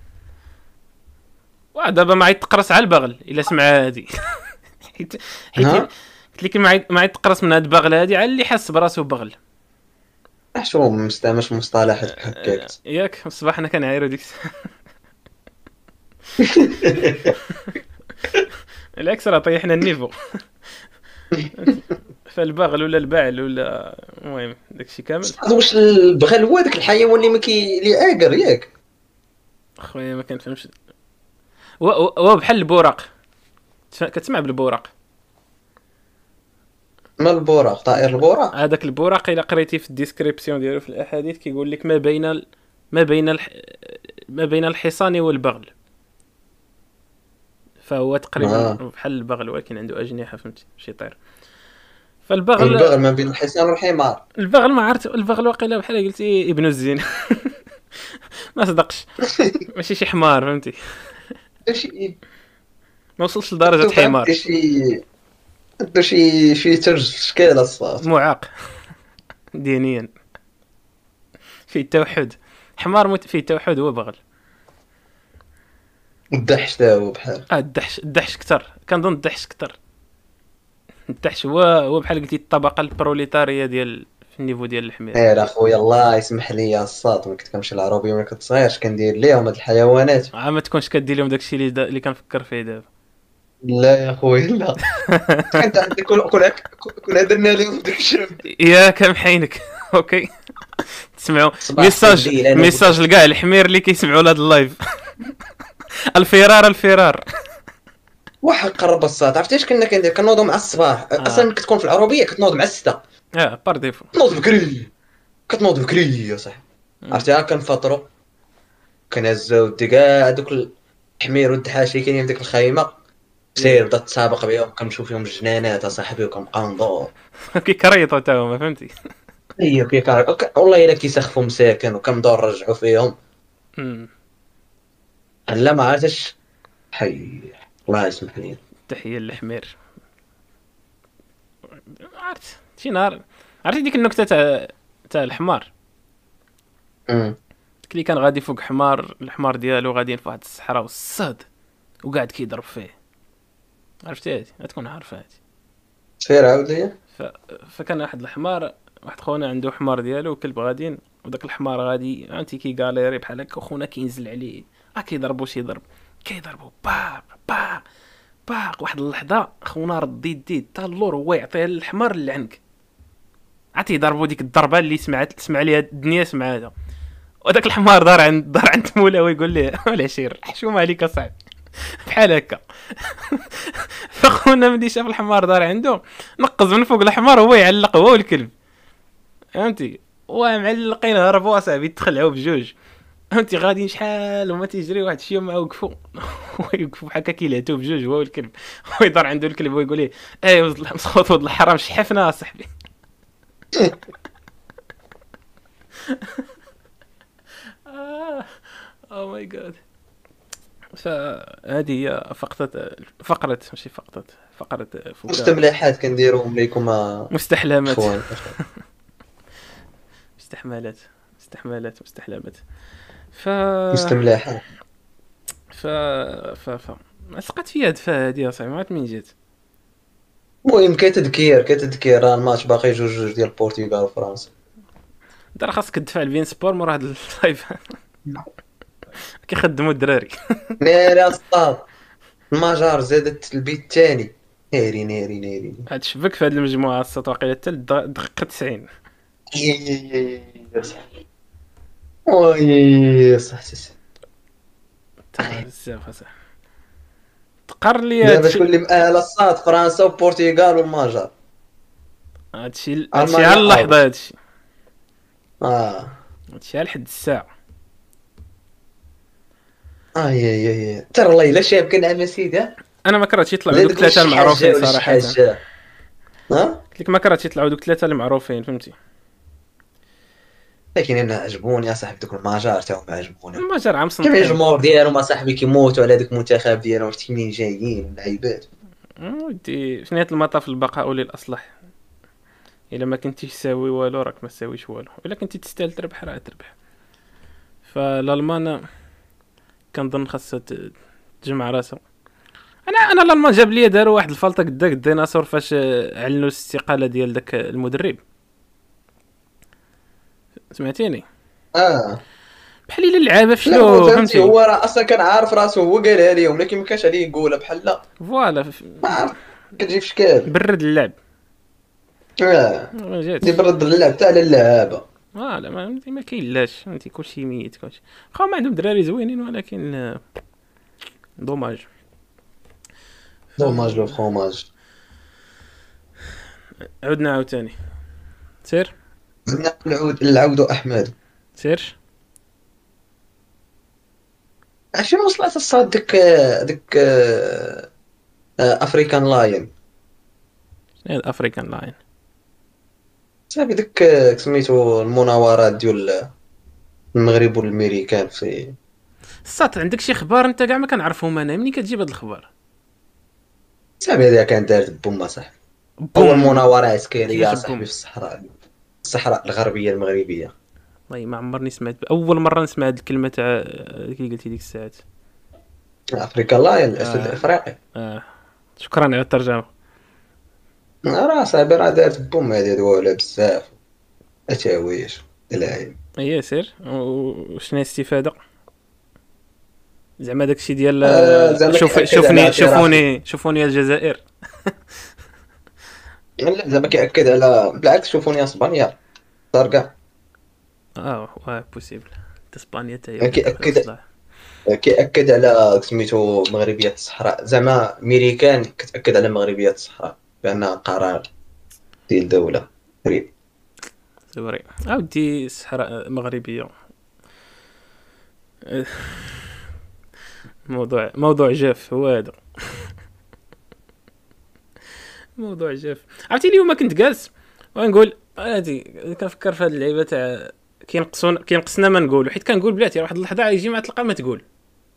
واه دابا ما عاد تقرص على البغل الا سمع هادي حيت حيت
ها؟
قلت لك ما عاد- ما عاد تقرص من هاد البغل هادي على اللي حس براسو بغل
شو مستعملش مصطلحات بحال هكاك
ياك في الصباح انا كنعايرو ديك الساعه العكس راه طيحنا النيفو فالبغل ولا البعل ولا المهم داكشي كامل
صاد واش البغل هو داك الحيوان اللي ما كي اللي عاقر ياك
خويا ما كنفهمش و- و- هو بحال البوراق تف- كتسمع بالبوراق
مال البوراق طائر البوراق
هذاك البوراق الا قريتي في الديسكريبسيون ديالو في الاحاديث كيقول لك ما بين ال... ما بين الح... ما بين الحصان والبغل فهو تقريبا
آه.
بحال البغل ولكن عنده اجنحه فهمتي شي طير فالبغل
البغل ما بين الحصان والحمار
البغل ما عرفت البغل واقيلا بحال قلتي ابن الزين ما صدقش ماشي شي حمار فهمتي
دو شي
ما وصلش لدرجه حمار
دو شي دو شي شي ترج في الشكال الصاد
معاق دينيا في التوحد حمار مت... في التوحد هو بغل
الدحش تا هو بحال
اه الدحش الدحش كتر كنظن الدحش كتر الدحش هو هو بحال قلتي الطبقه البروليتاريه ديال في النيفو ديال الحمير
غير اخويا إيه، الله يسمح لي يا الصاد ملي كنت كنمشي للعروبيه ملي كنت صغير اش كندير ليهم هاد الحيوانات
عا آه، ما تكونش كدير لهم داكشي اللي دا... اللي كنفكر فيه دابا
لا يا خويا لا انت عندك كل كل كل درنا لهم داك الشرب
ياك محينك اوكي تسمعوا
صباح
ميساج
الخير، أنا
ميساج لكاع الحمير اللي كيسمعوا لهاد اللايف الفرار الفرار
واحد قرب الصاد عرفتي اش كنا كندير كنوضوا مع الصباح
آه.
اصلا ملي كتكون في العروبيه كتنوض مع السته
اه بار ديفو
كتنوض بكري كتنوض بكري يا صاحبي
مم.
عرفتي ها كنفطرو كنهزو ودي كاع دوك الحمير والدحاشي كاينين في ديك الخيمه سير بدا تسابق بهم كنمشيو فيهم الجنانات اصاحبي وكنبقاو ندور
كيكريطوا تا هما فهمتي
ايوا كيكار وك- والله الا كيسخفوا مساكن وكنبداو نرجعو فيهم
مم.
لا ما عرفتش حي الله يسمح لي
تحيه للحمير عرفت شي نهار عرفتي ديك النكته تاع تاع الحمار
أمم.
ديك اللي كان غادي فوق حمار الحمار ديالو غاديين في واحد الصحراء والصاد وقاعد كيضرب فيه عرفتي هادي غتكون عارفه هادي
سير عاود ليا
ف... فكان واحد الحمار واحد خونا عنده حمار ديالو وكلب غاديين وداك الحمار غادي عرفتي كيغاليري بحال هكا وخونا كينزل عليه اه كيضربو شي ضرب كيضربو باق باق باق واحد اللحظه خونا رد يديه حتى اللور هو يعطيها للحمار اللي عنك عرفتي ضربو ديك الضربه اللي سمعت سمع ليها الدنيا سمع هذا وداك الحمار دار عند دار عند مولاه ويقول ليه العشير حشومه عليك اصاحبي بحال هكا فخونا ملي شاف الحمار دار عنده نقز من فوق الحمار هو يعلق هو والكلب فهمتي ومعلقين هربوا اصاحبي تخلعوا بجوج فهمتي غادي شحال وما تيجري واحد الشيء ما وقفوا ويوقفوا بحال هكا كيلهتوا بجوج هو والكلب هو يدار عنده الكلب ويقول ليه "إيه، اي مسخوط ولد الحرام شحفنا اصاحبي او ماي جاد Oh فهذه هي فقرة فقرة ماشي فقرة فقرة فوكا
مستملحات كنديرهم ليكم آه،
مستحلمات
اخوان
مستحملات مستحملات مستحلمات ف
مستملحات
ف ف ف لصقت فيا هاد فا هادي اصاحبي ما عرفت منين جات
المهم كتذكير كتذكير راه الماتش باقي جوج جوج ديال البرتغال وفرنسا
انت راه خاصك تدفع لبين سبور مورا هاد اللايف كيخدموا الدراري
ناري اصطاب المجر زادت البيت الثاني ناري ناري ناري
عاد شبك في هاد المجموعه الصوت واقيلا حتى الدقيقه 90
وي صح صح صح.
تاع بزاف اصاحبي تقر لي
دابا شكون
هادشي
اللي مأهل الصاد آه، فرنسا والبرتغال والمجر
هادشي هادشي
ألمانيا
على اللحظه هادشي
اه
هادشي على حد الساعه
اي اي اي اي ترى الله الا شاب كان عام سيدي ها
انا ما كرهتش يطلعوا دوك الثلاثه المعروفين صراحه قلت
حاجة. آه؟ ها
لك ما كرهتش يطلعوا دوك الثلاثه المعروفين فهمتي
لكن انا عجبوني اصاحبي دوك المجار تاعهم عجبوني
ما جا عام
كيف
صنطين
الجمهور ديالهم اصاحبي كيموتوا على ذاك المنتخب ديالهم شتي منين جايين اللعيبات
ودي في نهايه المطاف البقاء للاصلح الا ما كنتيش ساوي والو راك ما ساويش والو الا كنتي تستاهل تربح راه تربح فالالمان كنظن خاصها ت- تجمع راسها انا انا الالمان جاب لي داروا واحد الفلطه قداك الديناصور فاش آه، اعلنوا الاستقاله ديال داك المدرب سمعتيني
اه
بحال الا اللعابه
لا
فشلو
هو فهمتي
فهمتي
هو راه اصلا كان عارف راسو هو قالها ليهم ولكن ما كانش عليه يقولها بحال لا
فوالا ف-
ما عرف كتجي في شكال
برد اللعب
اه
ما جاتش
دي برد اللعب تاع على اللعابه
اه لا ما ما كاينلاش فهمتي كلشي ميت كلشي واخا هما عندهم دراري زوينين ولكن آه، دوماج
دوماج لو فروماج
عدنا عاوتاني سير
بدنا نعود العود احمد
سير
عرفتي ما وصلت الصاد ديك ديك آه، آه، افريكان لاين
شنو هاد افريكان لاين
صافي ديك آه، سميتو المناورات ديال المغرب والامريكان في
الساط عندك شي اخبار انت كاع ما كنعرفهم انا منين كتجيب هاد الاخبار
صافي هذا كان دارت بوم صح اول
بوم
مناوره عسكريه
كيفاش
صاحبي
بوم؟
في الصحراء الصحراء الغربيه المغربيه
والله ما عمرني سمعت اول مره نسمع هاد الكلمه تاع آه، كي قلتي ديك الساعات
افريكا لا الاسد
آه.
الافريقي
آه. شكرا على الترجمه
راه صاحبي راه دارت بوم هذه دوله بزاف اتاويش العين
ايه سير و- وشنو هي الاستفاده زعما داكشي ديال
آه، زعما
شوف
كأكد
شوفني
على
شوفوني شوفوني الجزائر
لا زعما كياكد على بالعكس شوفوني اسبانيا زرقاء
اه واه بوسيبل اسبانيا تاهي
أكيد-
بدات
أكيد.
الإصلاح.
كياكد على سميتو مغربيه الصحراء زعما ميريكان كتاكد على مغربيه الصحراء بانها قرار ديال دوله غريب
سوري اودي الصحراء مغربيه أه، موضوع موضوع جاف هو هذا موضوع جاف عرفتي اليوم كنت جالس ونقول هادي كنفكر في هاد اللعيبه تاع كينقصون كينقصنا ما نقولوا حيت كنقول بلاتي واحد اللحظه عيجي ما تلقى ما تقول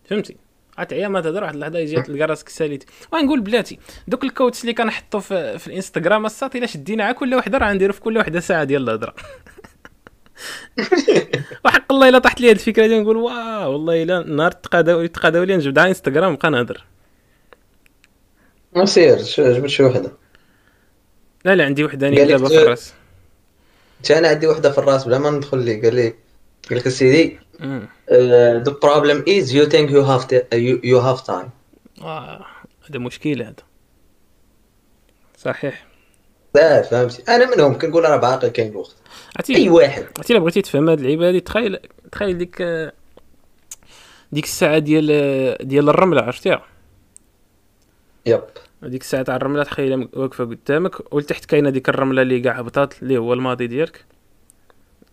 فهمتي عتعيا ما تهضر واحد اللحظه يجي تلقى راسك ساليت ونقول بلاتي دوك الكوتس اللي كنحطو في, في الانستغرام الساط الا شدينا على كل وحده راه نديرو في كل وحده ساعه ديال الهضره وحق الله الا طاحت لي هاد الفكره ديال نقول واه والله الا نهار تقاداو تقاداو لي نجبد على انستغرام نبقى نهضر
مسير شو- جبت شي وحده
لا لا عندي وحده
قال
انا
لك
دابا في
زوج.
الراس
حتى انا عندي وحده في الراس بلا ما ندخل لي قال لي قال لك سيدي آه،
أمم.
the problem is you think you have the, you, you have time
آه، هذا مشكل هذا صحيح
لا فهمتي انا منهم كنقول راه باقي كاين الوقت
عرفتي
اي واحد
عرفتي الا بغيتي تفهم هاد اللعيبه هادي تخيل تخيل ديك آه، ديك الساعه ديال ديال الرمله عرفتيها
يب
ديك الساعه تاع الرمله تخيل واقفه قدامك ولتحت كاينه ديك الرمله اللي كاع هبطات اللي هو الماضي ديالك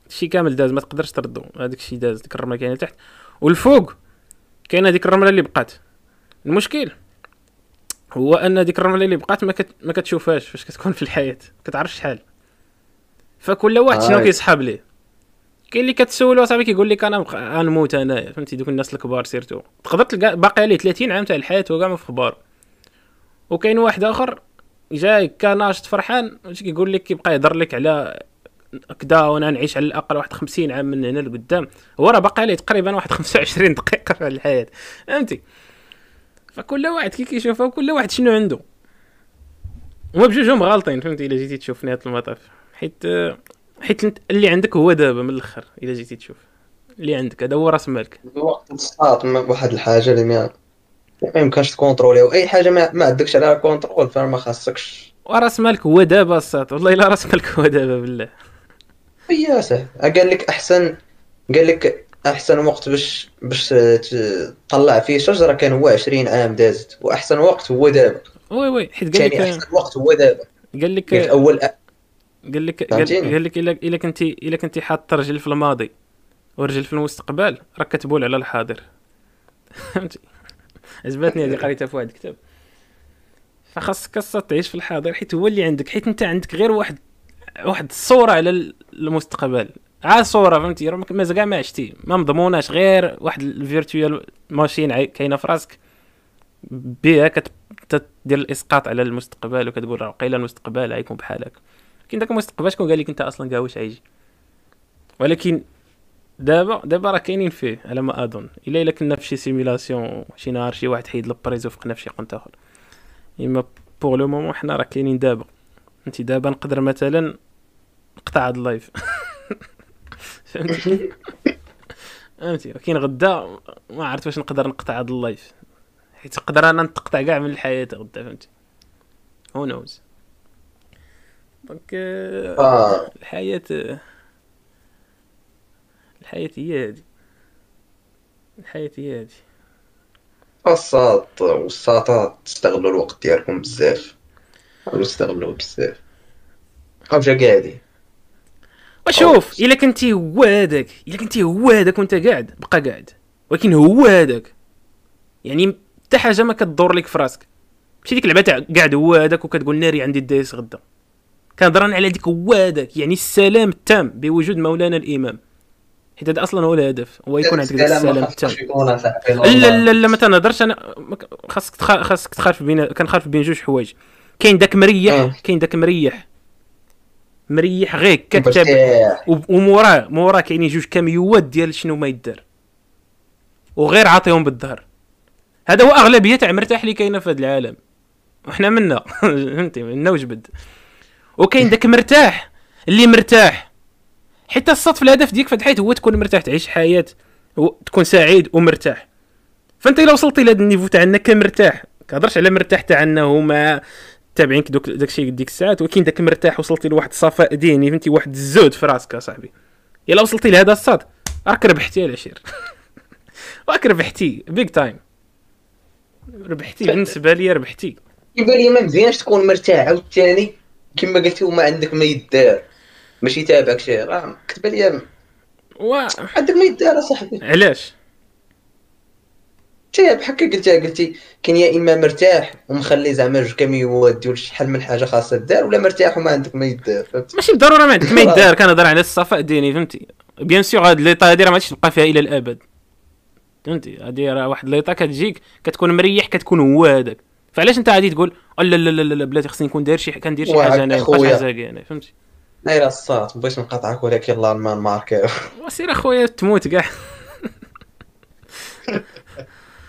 شي كامل داز ما تقدرش تردو هذاك الشيء داز ديك الرمله كاينه لتحت والفوق كاينه ديك الرمله اللي بقات المشكل هو ان ديك الرمله اللي بقات ما, كت... ما كتشوفهاش فاش كتكون في الحياه كتعرف شحال فكل واحد شنو
آي.
كيسحاب ليه كاين اللي كتسولو صاحبي كيقول لك انا بق... غنموت انايا فهمتي دوك الناس الكبار سيرتو تقدر تلقى باقي عليه 30 عام تاع الحياه وكاع ما في خبار وكاين واحد اخر جاي كان ناشط فرحان واش كيقول لك كيبقى يهضر لك على كدا وانا نعيش على الاقل واحد 50 عام من هنا لقدام هو راه باقي عليه تقريبا واحد 25 دقيقه في الحياه فهمتي فكل واحد كي كيشوفها كل واحد شنو عنده هما بجوجهم غالطين فهمتي الا جيتي تشوف نهايه المطاف حيت حيت انت- اللي عندك هو دابا من الاخر الا جيتي تشوف اللي عندك هذا هو راس مالك
الوقت مستعط ما- واحد الحاجه اللي ما ما يمكنش تكونتروليها واي حاجه ما, ما عندكش عليها كونترول فما خاصكش
وراس مالك هو دابا الساط والله الا راس مالك هو دابا بالله
يا سهل قال لك احسن قال لك احسن وقت باش باش ت- تطلع فيه شجره كان هو 20 عام دازت واحسن وقت هو دابا
وي وي حيت قال
ثاني
لك
احسن وقت هو دابا
قال لك
قال اول أ-
قال لك قال
فهمتيني؟
قال لك الا الا كنتي الا كنتي حاط رجل في الماضي ورجل في المستقبل راك كتبول على الحاضر فهمتي عجبتني هذه قريتها في واحد الكتاب فخاصك أصلا تعيش في الحاضر حيت هو اللي عندك حيت انت عندك غير واحد واحد الصوره على ال- المستقبل عا صوره فهمتي راه ما كاع ما عشتي ما مضموناش غير واحد الفيرتوال ماشين عاي- كاينه في راسك بها كت- تدير الاسقاط على المستقبل وكتقول راه قيل المستقبل غيكون بحال هكا كاين داك المستقبل شكون قال لك انت اصلا كاع واش غيجي ولكن دابا دابا راه كاينين فيه على ما اظن الا الا كنا في شي سيميلاسيون شي نهار شي واحد حيد لبريز وفقنا في شي قنت اخر اما بور لو مومون حنا راه كاينين دابا انت دابا نقدر مثلا نقطع هاد اللايف فهمتي فهمتي كاين غدا ما عرفت واش نقدر نقطع هاد اللايف حيت نقدر انا نتقطع كاع من الحياه غدا فهمتي هو نوز دونك آه،
آه.
الحياة الحياة هي هادي الحياة هي هادي
الساط والساطات تستغلوا الوقت ديالكم بزاف حاولوا تستغلوه بزاف خرجة قاعدي
وشوف الا كنتي هو هذاك الا كنتي هو هذاك وانت قاعد بقى قاعد ولكن هو هذاك يعني حتى حاجه ما كتدور لك في راسك ماشي ديك اللعبه تاع قاعد هو هذاك وكتقول ناري عندي الدايس غدا كنهضر على ديك هو هذاك يعني السلام التام بوجود مولانا الامام حيت هذا اصلا هو الهدف هو يكون عندك داك
السلام
السلام
ما
التام
خاصكش يكون أصاحبي،
لا
والله.
لا لا ما تنهضرش انا ما ك- خاصك تخ... خاصك تخالف بين كنخالف بين جوج حوايج كاين داك
آه.
مريح كاين داك مريح مريح غير كتاب
مرتاح.
و- وموراه موراه كاينين جوج كاميوات ديال شنو ما يدار وغير عاطيهم بالظهر هذا هو اغلبيه تاع مرتاح اللي كاينه في هذا العالم وحنا منا فهمتي منا وجبد وكاين داك مرتاح اللي مرتاح حتى الصدف الهدف ديالك في هاد الحياه هو تكون مرتاح تعيش حياه و... تكون سعيد ومرتاح فانت الا وصلتي لهذا النيفو تاع انك مرتاح كهضرش على مرتاح تاع انه ما تابعينك دوك داكشي ديك الساعات ولكن داك مرتاح وصلتي لواحد الصفاء ديني فهمتي واحد الزود في راسك اصاحبي الا وصلتي لهذا الصاد راك ربحتي يا العشير راك ربحتي بيج تايم ربحتي بالنسبه لي ربحتي
يبان لي ما مزيانش تكون مرتاح عاوتاني كما قلتي وما عندك ما يدار ماشي تابعك شي راه كتب لي
و
عندك ما يدار اصاحبي
علاش
تي بحال كي قلتي قلتي كاين يا اما مرتاح ومخلي زعما جوج كاميوات ديال شحال من حاجه خاصها دار ولا مرتاح وما عندك ما يدار فهمت
ماشي بالضروره ما عندك ما يدار كنهضر على الصفاء ديني فهمتي بيان سور هاد ليطا هادي راه ما غاديش تبقى فيها الى الابد فهمتي هادي راه واحد ليطا كتجيك كتكون مريح كتكون هو هذاك فعلاش انت غادي تقول "أه لا لا لا لا, لا بلاتي خصني نكون داير شي كندير شي
وعد
حاجه انا
أخويا.
مابقاش عزاقي انا يعني، فهمتي
ناير الصاط بغيت نقاطعك ولكن الالمان ماركا
وسير اخويا تموت كاع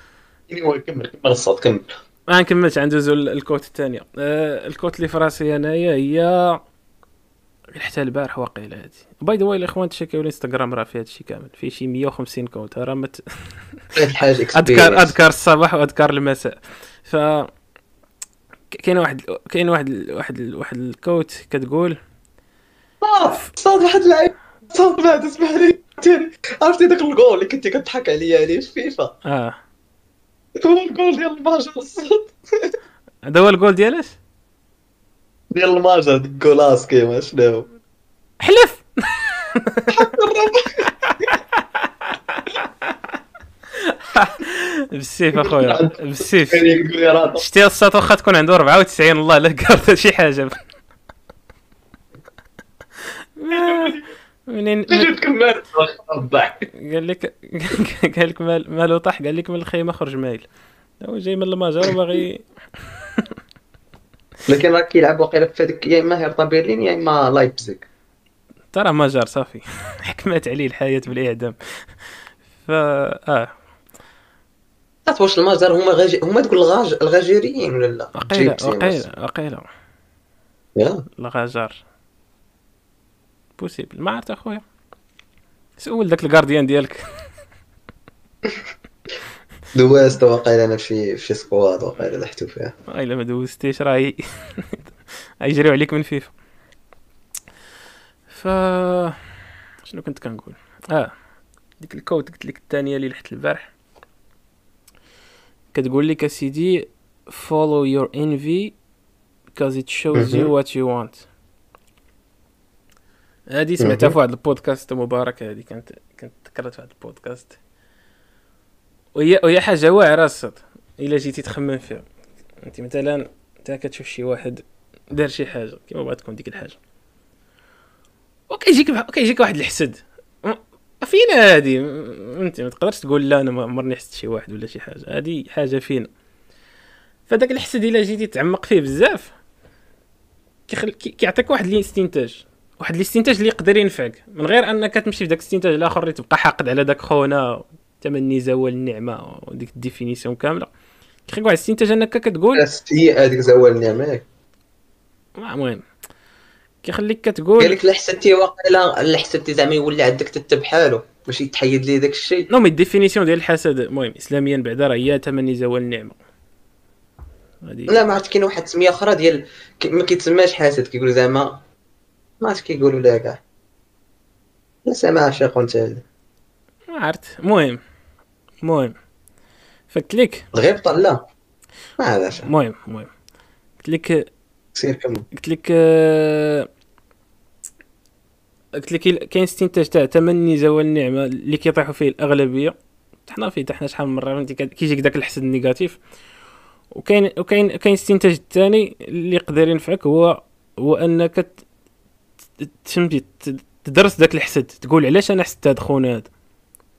كمل كمل الصوت كمل
ما نكملش غندوزو الكوت الثانيه آه الكوت اللي في راسي انايا هي حتى البارح واقيلا هادي باي ذا واي الاخوان تشيكيو الانستغرام راه فيه هادشي كامل فيه شي 150 كوت راه ما ت-
هاد الحاجه
اذكر
experience.
اذكر الصباح واذكر المساء ف ك- كاين واحد كاين واحد واحد واحد الكوت كتقول
آه، صاد صاد واحد العيب صوت بعد اسمح لي عرفتي ذاك الجول اللي كنتي كتضحك عليا عليه يعني في فيفا
اه
هو الجول ديال الماجر الصوت
هذا هو الجول ديالك
ديال الماجر ديك جولاس كيما شنو هو
حلف بالسيف اخويا بالسيف
كان يعني يقول لي راه
شتي الصوت واخا تكون عنده 94 الله لا كارت شي حاجه ما- منين
تجي تكمل ربع
قال لك قال لك مال- مالو طاح قال لك من الخيمه خرج مايل هو جاي من المجر وباغي
لكن راه كيلعب واقيلا في هذيك يا اما هيرتا برلين يا اما لايبزيغ
ترى مجر صافي حكمت عليه الحياه بالاعدام فا اه
عرفت واش المجر هما غاج... هما تقول الغاج الغاجيريين ولا لا
وقيله
جيبسي مثلا.
وقيله وقيله
يا.
الغجر بوسيبل ما عرفت اخويا سول داك الجارديان ديالك
دوازت واقيلا انا في في سكواد واقيلا لحتو فيها
آه، الا ما دوزتيش راه ي- غيجريو عليك من فيفا ف شنو كنت كنقول اه ديك الكوت قلت لك الثانيه اللي لحت البارح كتقول لك اسيدي follow your envy because it shows you
مهم.
what you want هادي سمعتها
مهم.
في واحد البودكاست مبارك هادي كانت كانت تكررت في واحد البودكاست وهي وهي حاجه واعره الصد الا جيتي تخمم فيها انت مثلا انت كتشوف شي واحد دار شي حاجه كيما بغات تكون ديك الحاجه وكيجيك بح- وكيجيك واحد الحسد م- فينا هادي م- انت ما تقدرش تقول لا انا ما عمرني حست شي واحد ولا شي حاجه هادي حاجه فينا فداك الحسد الا جيتي تعمق فيه بزاف كيخل... كي- كيعطيك واحد الاستنتاج واحد الاستنتاج اللي يقدر ينفعك من غير انك تمشي في داك الاستنتاج الاخر اللي تبقى حاقد على داك خونا تمني زوال النعمه وديك الديفينيسيون كامله كيخليك واحد الاستنتاج انك كتقول
السيئه هذيك زوال النعمه
ما المهم كيخليك كتقول
قال لك لا حسبتي واقيلا لا حسبتي زعما يولي عندك تتب بحاله باش يتحيد ليه داك الشيء
نو مي الديفينيسيون ديال الحسد المهم اسلاميا بعدا راه هي تمني زوال النعمه هادي
لا ما عرفت كاين واحد التسميه اخرى ديال ك- ما كيتسماش حاسد كيقولوا زعما ما عرفت كيقولوا لها كاع لا زعما عاشق انت
ما عرفت المهم المهم فقلت لك
الغيبطه لا ما عرفش
المهم المهم قلت لك
سير كمل
قلت لك آه، قلت لك ال- كاين استنتاج تاع تمني زوال النعمه اللي كيطيحوا فيه الاغلبيه حنا فيه حنا شحال من مره انت كت- كيجيك داك الحسد النيجاتيف وكاين وكاين كاين استنتاج الثاني اللي يقدر ينفعك هو هو انك ت- ت- تمشي ت- تدرس داك الحسد تقول علاش انا حسيت هاد خونا هاد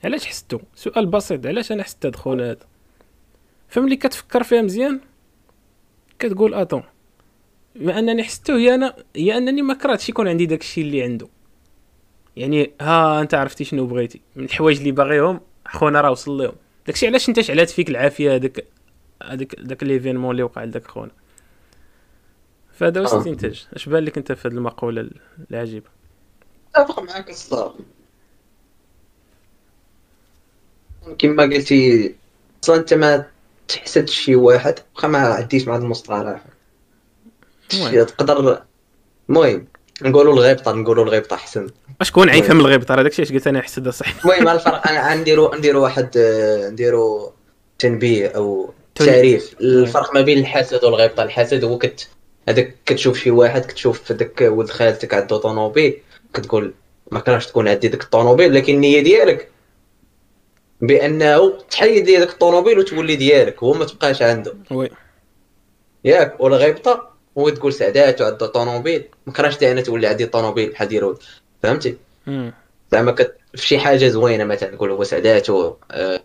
علاش حسيتو سؤال بسيط علاش انا حسيت هاد خونا هاد فملي كتفكر فيها مزيان كتقول اتون بما انني حسيته هي انا هي انني ما كرهتش يكون عندي داك الشيء اللي عنده يعني ها انت عرفتي شنو بغيتي من الحوايج اللي باغيهم خونا راه وصل لهم داك الشيء علاش انت شعلات فيك العافيه هذاك هذاك داك ليفينمون اللي وقع لداك خونا فهذا هو
آه.
الاستنتاج اش بان لك انت في هذه المقوله ال- العجيبه
اتفق معاك الصراحه كما قلتي اصلا انت ما تحسد شي واحد واخا ما عديش مع هاد المصطلح
المهم.
تقدر المهم نقولوا الغيبطه نقولوا الغيبطه احسن
اشكون عين فهم الغيب ترى داك الشيء اش قلت انا حسد صح
المهم على الفرق انا نديرو نديرو واحد آه، نديرو تنبيه او
تن-
تعريف الفرق ما بين الحسد والغيبطه الحسد هو كت هذاك كتشوف شي واحد كتشوف داك ولد خالتك عنده طوموبيل كتقول ما كرهش تكون عندي ديك الطوموبيل لكن النيه ديالك بانه تحيد ليه داك الطوموبيل وتولي ديالك هو ما تبقاش عنده
وي
ياك والغيبطه هو تقول سعداته عنده طوموبيل ما كرهش انا تولي عندي طوموبيل بحال ديالو فهمتي
مم.
زعما كت... في شي حاجه زوينه مثلا نقول هو سعداته آه،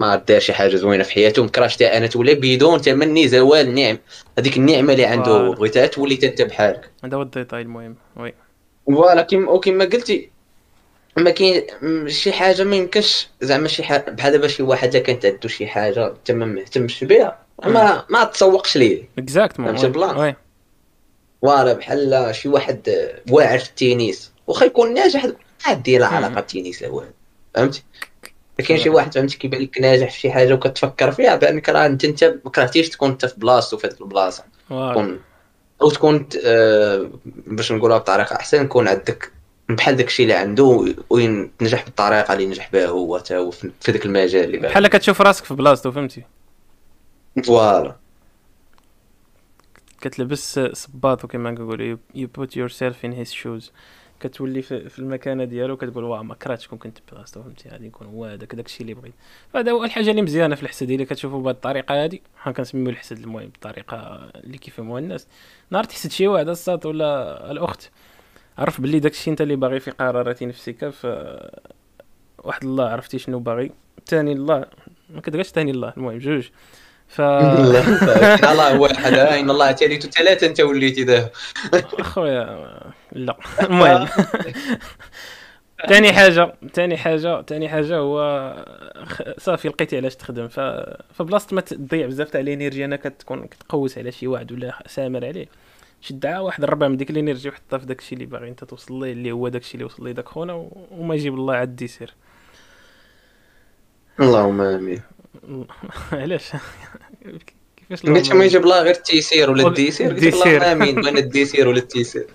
ما عاد دار شي حاجه زوينه في حياته مكراش تا انا تولي بدون تمني زوال النعم هذيك النعمه اللي عنده
فوالا.
هو بغيتها تولي تا انت بحالك
هذا هو الديتاي المهم وي
فوالا كيما وكيما قلتي ما كاين م- شي حاجه ما يمكنش زعما شي حاجه بحال دابا شي واحد الا كانت عنده شي حاجه انت ما مهتمش بها ما ما تسوقش ليه
اكزاكت
فهمت البلان؟
وي
فوالا بحال شي واحد آه، واعر في التنس واخا يكون ناجح عادي لا علاقه بالتنس هو فهمتي كاين شي واحد فهمتي كيبان لك ناجح في شي حاجه وكتفكر فيها بانك راه انت انت ما كرهتيش تكون انت في بلاصتو في هذيك البلاصه
فوالا.
تكون او تكون آه، باش نقولها بطريقه احسن يكون عندك بحال داكشي اللي عنده وين نجح بالطريقه اللي نجح بها هو تا هو في في داك المجال اللي بان
بحال كتشوف راسك في بلاصتو فهمتي
فوالا
كتلبس صباط وكما كنقولوا يو بوت يور سيلف ان هيز شوز كتولي في في المكانه ديالو كتقول واه ما كرهتش كون كنت بلاصتو فهمتي غادي يكون هو هذاك داكشي اللي بغيت فهذا هو الحاجه اللي مزيانه في الحسد الا كتشوفو بهاد الطريقه هادي حنا كنسميو الحسد المهم الطريقه اللي كيفهموها الناس نهار تحسد شي واحد الساط ولا الاخت عرف باللي داكشي انت اللي باغي في قراراتي نفسك ف واحد الله عرفتي شنو باغي تاني الله ما كتبقاش تاني الله المهم جوج ف
الله الله واحد آه، ان الله ثالث ثلاثه انت وليتي ذا
اخويا لا المهم تاني حاجه تاني حاجه تاني حاجه هو خ- صافي لقيتي علاش تخدم ف فبلاصه ما تضيع بزاف تاع الانرجي انا كتكون كتقوس على شي واحد ولا سامر عليه شد عا واحد الربع من ديك الانرجي وحطها في داكشي اللي باغي انت توصل ليه اللي هو داكشي اللي وصل ليه داك خونا و- وما يجيب الله عاد يسير
اللهم امين
علاش كيفاش
قلت
الأمر؟
ما يجيب الله غير التيسير ولا
ولا
الديسير قلت
الديسير.
الله امين بغينا الديسير ولا التيسير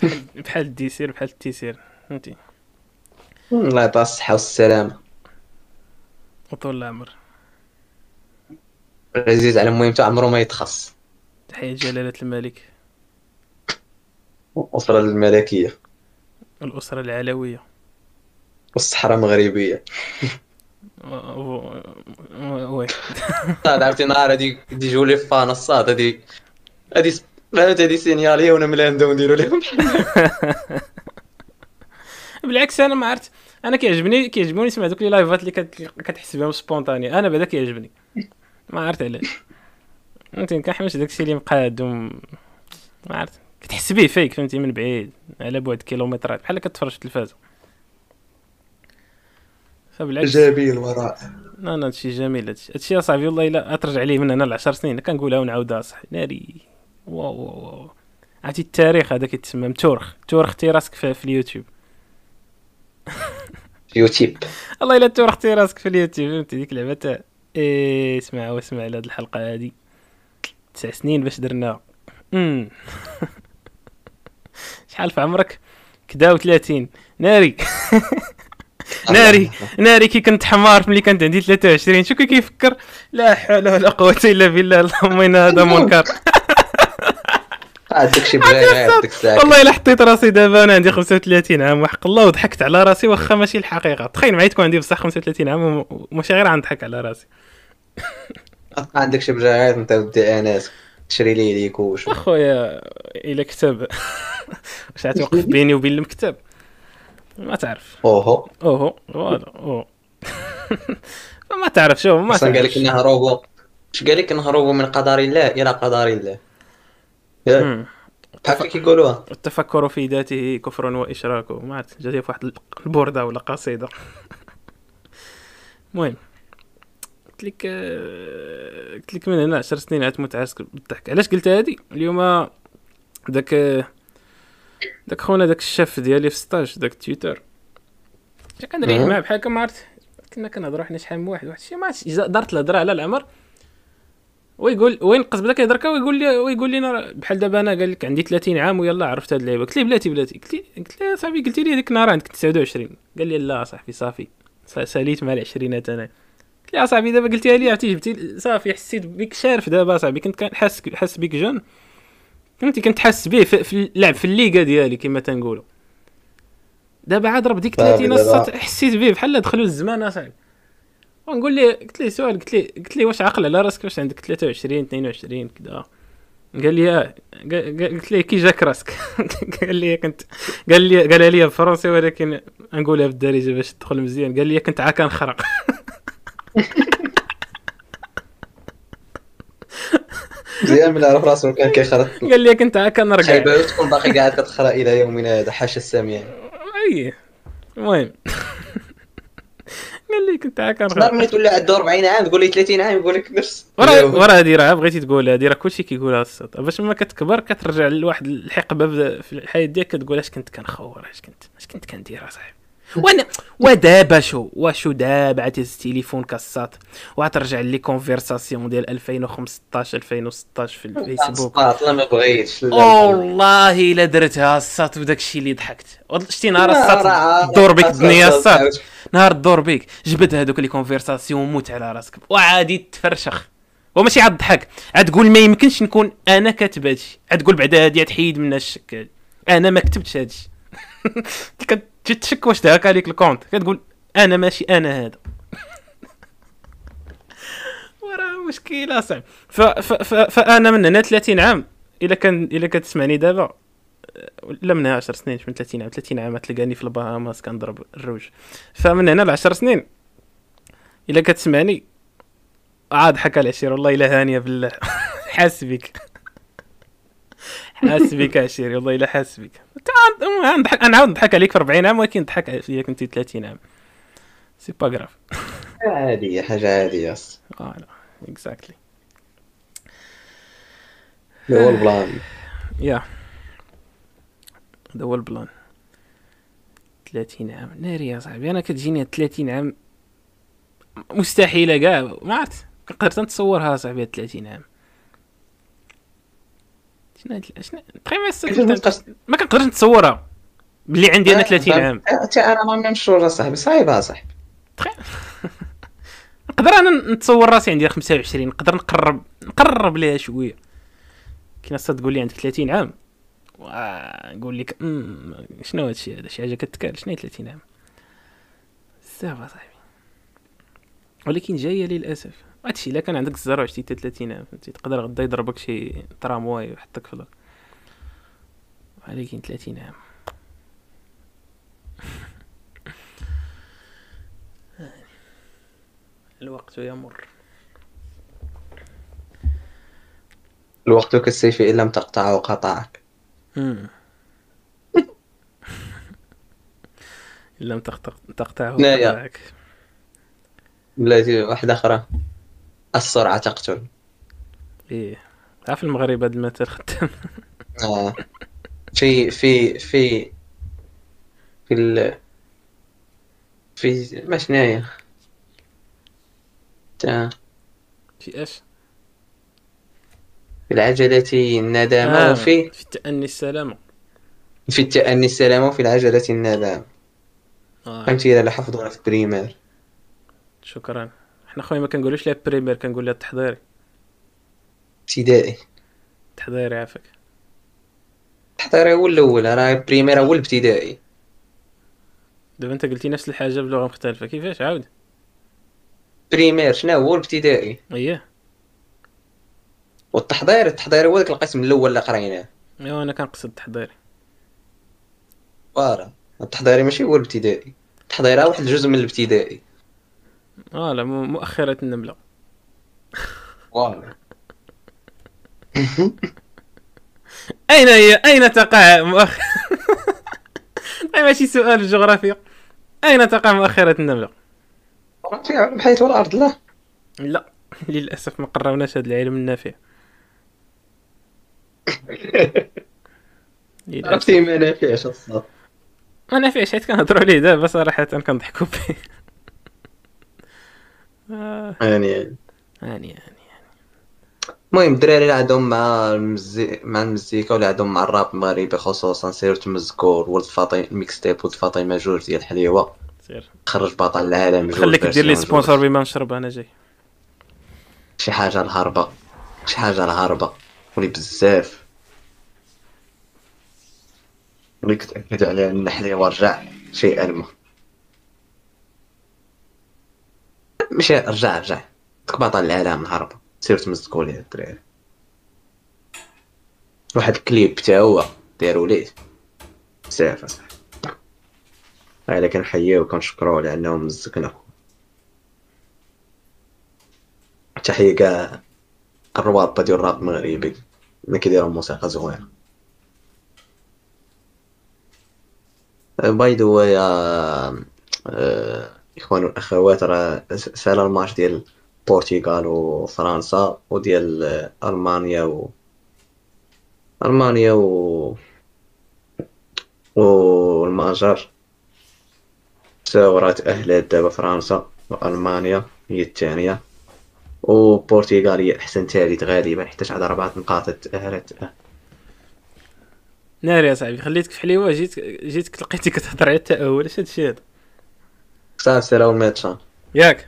بحال بحال الديسير بحال التيسير فهمتي
الله يعطيها الصحه والسلامه
وطول العمر
العزيز على المهم تا عمره ما يتخص
تحيه جلاله الملك
الاسره الملكيه
الاسره العلويه
والصحراء المغربيه
و- و- وي
صاد عرفتي نهار هادي يجيو لي فان الصاد هادي هادي س- فهمت هادي سينياليه وانا ملي نبداو نديرو لهم
بالعكس انا ما عرفت انا كيعجبني كيعجبوني نسمع دوك لي لايفات اللي كت- كتحس بهم سبونطاني انا بعدا كيعجبني ما عرفت علاش فهمتي كنحمس داكشي اللي مقاد وم- ما عرفت كتحس به فيك فهمتي من بعيد على بعد كيلومترات بحال كتفرج في التلفازه فبالعكس
جابي الوراء
لا لا هادشي جميل هادشي هادشي اصاحبي والله الا اترجع ليه من هنا لعشر سنين كنقولها ونعاودها اصاحبي ناري واو واو واو عرفتي التاريخ هذا كيتسمى متورخ تورختي راسك في, في اليوتيوب
يوتيوب
الله الا تورختي راسك في اليوتيوب فهمتي ديك اللعبه تاع ايه اسمع واسمع على هاد الحلقه هادي تسع سنين باش درناها امم شحال في عمرك كدا و30 ناري ناري ناري كي كنت حمار ملي كانت عندي 23 شو كي كيفكر لا حول ولا قوه الا بالله اللهم ان هذا منكر
عاد داكشي بغينا عاد ديك الساعه
والله الا حطيت راسي دابا انا عندي 35 عام وحق الله وضحكت على راسي واخا ماشي الحقيقه تخيل معايا تكون عندي بصح 35 عام وم- وماشي غير غنضحك على راسي
عاد داكشي بغينا عاد انت ودي اناس شري لي ليك وش
اخويا الى كتاب واش غتوقف بيني وبين المكتب ما تعرف
اوهو
اوهو فوالا اوه ما تعرف شوف ما
اصلا قال لك
تعرف
نهربوا اش قال لك نهربوا من قدر الله الى قدر الله ياك؟
مم.
بحال كيقولوها
التفكر في ذاته كفر واشراك ما عرفت جاتي في واحد البورده ولا قصيده المهم قلت لك آه، قلت لك من هنا 10 سنين عاد متعاسك بالضحك علاش قلت هادي اليوم داك آه، داك خونا داك الشاف ديالي في ستاج داك تويتر جا كنريح
أه.
معاه بحال هكا ما عرفت كنا كنهضروا حنا شحال من واحد واحد الشيء ما عرفتش إذا دارت الهضره على العمر ويقول وين قص بدا كيهضر كا ويقول لي ويقول لي أنا راه- بحال دابا انا قال لك عندي 30 عام ويلا عرفت هاد اللعيبه قلت ليه بلاتي بلاتي قلت ليه قلت ليه صاحبي قلت لي ديك النهار عندك 29 قال لي لا صاحبي صافي س- ساليت مع العشرينات انا قلت ليه صاحبي دابا قلتيها لي عرفتي جبتي صافي حسيت بك شارف دابا صاحبي كنت كنحس حاس بك جون فهمتي كنت حاس به في, في اللعب في الليغا ديالي كما تنقولوا دابا عاد راه بديك
صافي
30
دابا.
الصات حسيت به بحال دخلوا الزمان اصاحبي ونقول لي قلت ليه سؤال قلت ليه قلت ليه واش عقل على راسك واش عندك 23 22 كذا قال لي آه. قا- قا- قلت ليه كي جاك راسك قال لي كنت قال لي قال لي بالفرنسي ولكن نقولها بالدارجه باش تدخل مزيان قال لي كنت عا كنخرق
مزيان من عرف راسو كان كيخرط
قال لي كنت عا كنرقع
خايبه تكون باقي قاعد كتقرا الى يومنا هذا حاشا الساميه
اي المهم قال لي كنت عا كنرقع
نهار ملي تولي عنده 40 عام تقول لي 30 عام يقول لك نفس
ورا ورا هادي راه بغيتي تقولها هادي راه كلشي كيقولها الصوت باش ما كتكبر كترجع لواحد الحقبه بدا- في الحياه ديالك كتقول اش كنت كنخور اش كنت اش كنت كندير اصاحبي وانا ودابا شو واشو دابا عاد هز التليفون كاسات وغترجع لي كونفرساسيون ديال 2015 2016 في الفيسبوك
الصباط لا ما بغيتش
والله الا درتها السات بداك الشيء اللي ضحكت والله شتي نهار السات دور بك الدنيا السات نهار الدور بيك جبد هذوك لي كونفرساسيون موت على راسك وعادي تفرشخ وماشي عاد الضحك عاد تقول ما يمكنش نكون انا كاتب هادشي عاد تقول بعدا هادي تحيد منها الشك هادي. انا ما كتبتش هادشي كتجي تشك واش داك عليك الكونت كتقول انا ماشي انا هذا وراه مشكله صعب ف... ف... ف... فانا من هنا 30 عام الا كان الا كتسمعني دابا لا من هنا 10 سنين مش من 30 عام 30 عام تلقاني في البهاماس كنضرب الروج فمن هنا ل 10 سنين الا كتسمعني عاد حكى العشير والله الا هانيه بالله حاس بك حاس بك عشيري والله الا حاس بك تعال- المهم نضحك انا عاود نضحك عليك في 40 عام ولكن نضحك فيا كنتي 30 عام سي با غراف
عادية حاجة عادية الص.
فوالا اكزاكتلي
هذا هو البلان
يا هذا هو البلان 30 عام ناري يا صاحبي انا كتجيني هاد 30 عام مستحيله كاع ما عرفت قدرت نتصورها صاحبي هاد 30 عام شنو هاد- شنو
كيفاش ما
تقريبا
تبقاش
ما كنقدرش نتصورها بلي عندي انا 30 عام
حتى انا ما مشهور صاحبي صعيبة صاحبي
نقدر انا نتصور راسي عندي 25 نقدر نقرب نقرب ليها شويه كي ناس تقول لي عندك 30 عام وا- نقول لك أمم، شنو هادشي هذا شي حاجه كتكال شنو هي 30 عام صافا صاحبي ولكن جايه للاسف هادشي الا كان عندك الزهر وعشتي حتى 30 عام فهمتي تقدر غدا يضربك شي ترامواي ويحطك في الارض ولكن 30 عام الوقت يمر
الوقت كالسيف ان لم تقطعه قطعك
إن لم تقطع- تقطعه
لا يا.
قطعك.
بلاتي واحدة اخرى السرعة تقتل
ايه عارف المغرب هذا المثل خدام
آه. في في في في ال... في ما شناهي تا-
في اش؟
في العجلة الندامة
آه،
وفي
في التأني السلامة
في التأني السلامة وفي العجلة الندامة
آه.
فهمتي إلا حفظونا في البريمير
شكرا حنا خويا ما كنقولوش لها بريمير كنقول لها التحضيري
ابتدائي
التحضيري عافاك
التحضيري هو الأول راه البريمير هو الابتدائي
دابا انت قلتي نفس الحاجة بلغة مختلفة كيفاش عاود
بريمير شنو هو الابتدائي
ايه
والتحضير التحضير هو ذاك القسم الأول اللي قريناه
ايوا انا إيه، كنقصد التحضيري
فوالا التحضيري ماشي هو الابتدائي التحضير راه واحد الجزء من الابتدائي
اه لا م- مؤخرة النملة
فوالا
اين هي اين تقع مؤخرة أي ماشي سؤال الجغرافيا اين تقع مؤخرة النملة
بحيث والأرض لا
لا للاسف ما قربناش هذا العلم النافع للاسف
عرفتي ما نافعش الصوت
ما نافعش حيت كنهضروا عليه دابا صراحه كنضحكوا به آه،
يعني
هاني هاني
المهم الدراري اللي عندهم مع المزي... مع المزيكا ولا عندهم مع الراب المغربي خصوصا سيرة مزكور ولد فاطمة ميكس تيب ولد فاطمة جوج ديال الحليوة
سير
خرج بطل العالم جوج
خليك دير لي
فيرسيون جوج.
سبونسر بما نشرب انا جاي
شي حاجة الهربة شي حاجة الهربة ولي بزاف ولي كتأكد عليها أن الحليوة رجع شي ألمة ماشي رجع رجع ديك بطل العالم الهربة سير تمزكو ليه الدراري واحد الكليب تا هو دارو ليه بزاف أصاحبي على كنحييه وكنشكرو على أنه مزكنا تحية كاع الرواطة ديال الراب المغربي اللي كيديروا موسيقى زوينة باي ذا واي آه، اخوان والاخوات راه س- سالا الماتش ديال البرتغال وفرنسا وديال آه، المانيا و المانيا و والمجر وراه تأهلت دابا فرنسا وألمانيا هي الثانية وبورتغال هي أحسن ثالث غالبا حيتاش عندها أربعة نقاط تأهلت
ناري يا صاحبي خليتك في حليوه جيت جيتك لقيتك كتهضر على التاهل اش هادشي هذا
صافي سير أول ماتش
ياك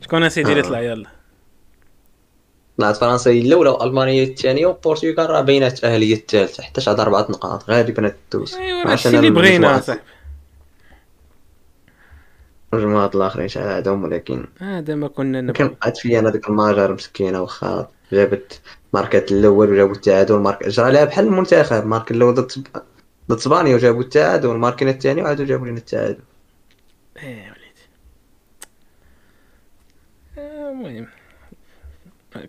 شكون اسيدي اللي
آه.
طلع يلا
نعت فرنسا هي الأولى وألمانيا هي الثانية وبورتغال راه بينات الأهل هي الثالثة حيتاش عندها أربعة نقاط غالبا تدوز
ايوا راه الشيء أيوة، اللي بغينا صاحبي
الجماعة الآخرين شحال عندهم ولكن
هذا ما آه، كنا
يمكن
نبغي
وقعت فيا انا ديك المجر مسكينه واخا جابت ماركات الاول وجابوا التعادل مارك جرى لها بحال المنتخب مارك الاول ضد سب- ضد اسبانيا وجابوا التعادل ماركينا الثاني وعادوا جابوا لنا التعادل
ايه وليدي آه، المهم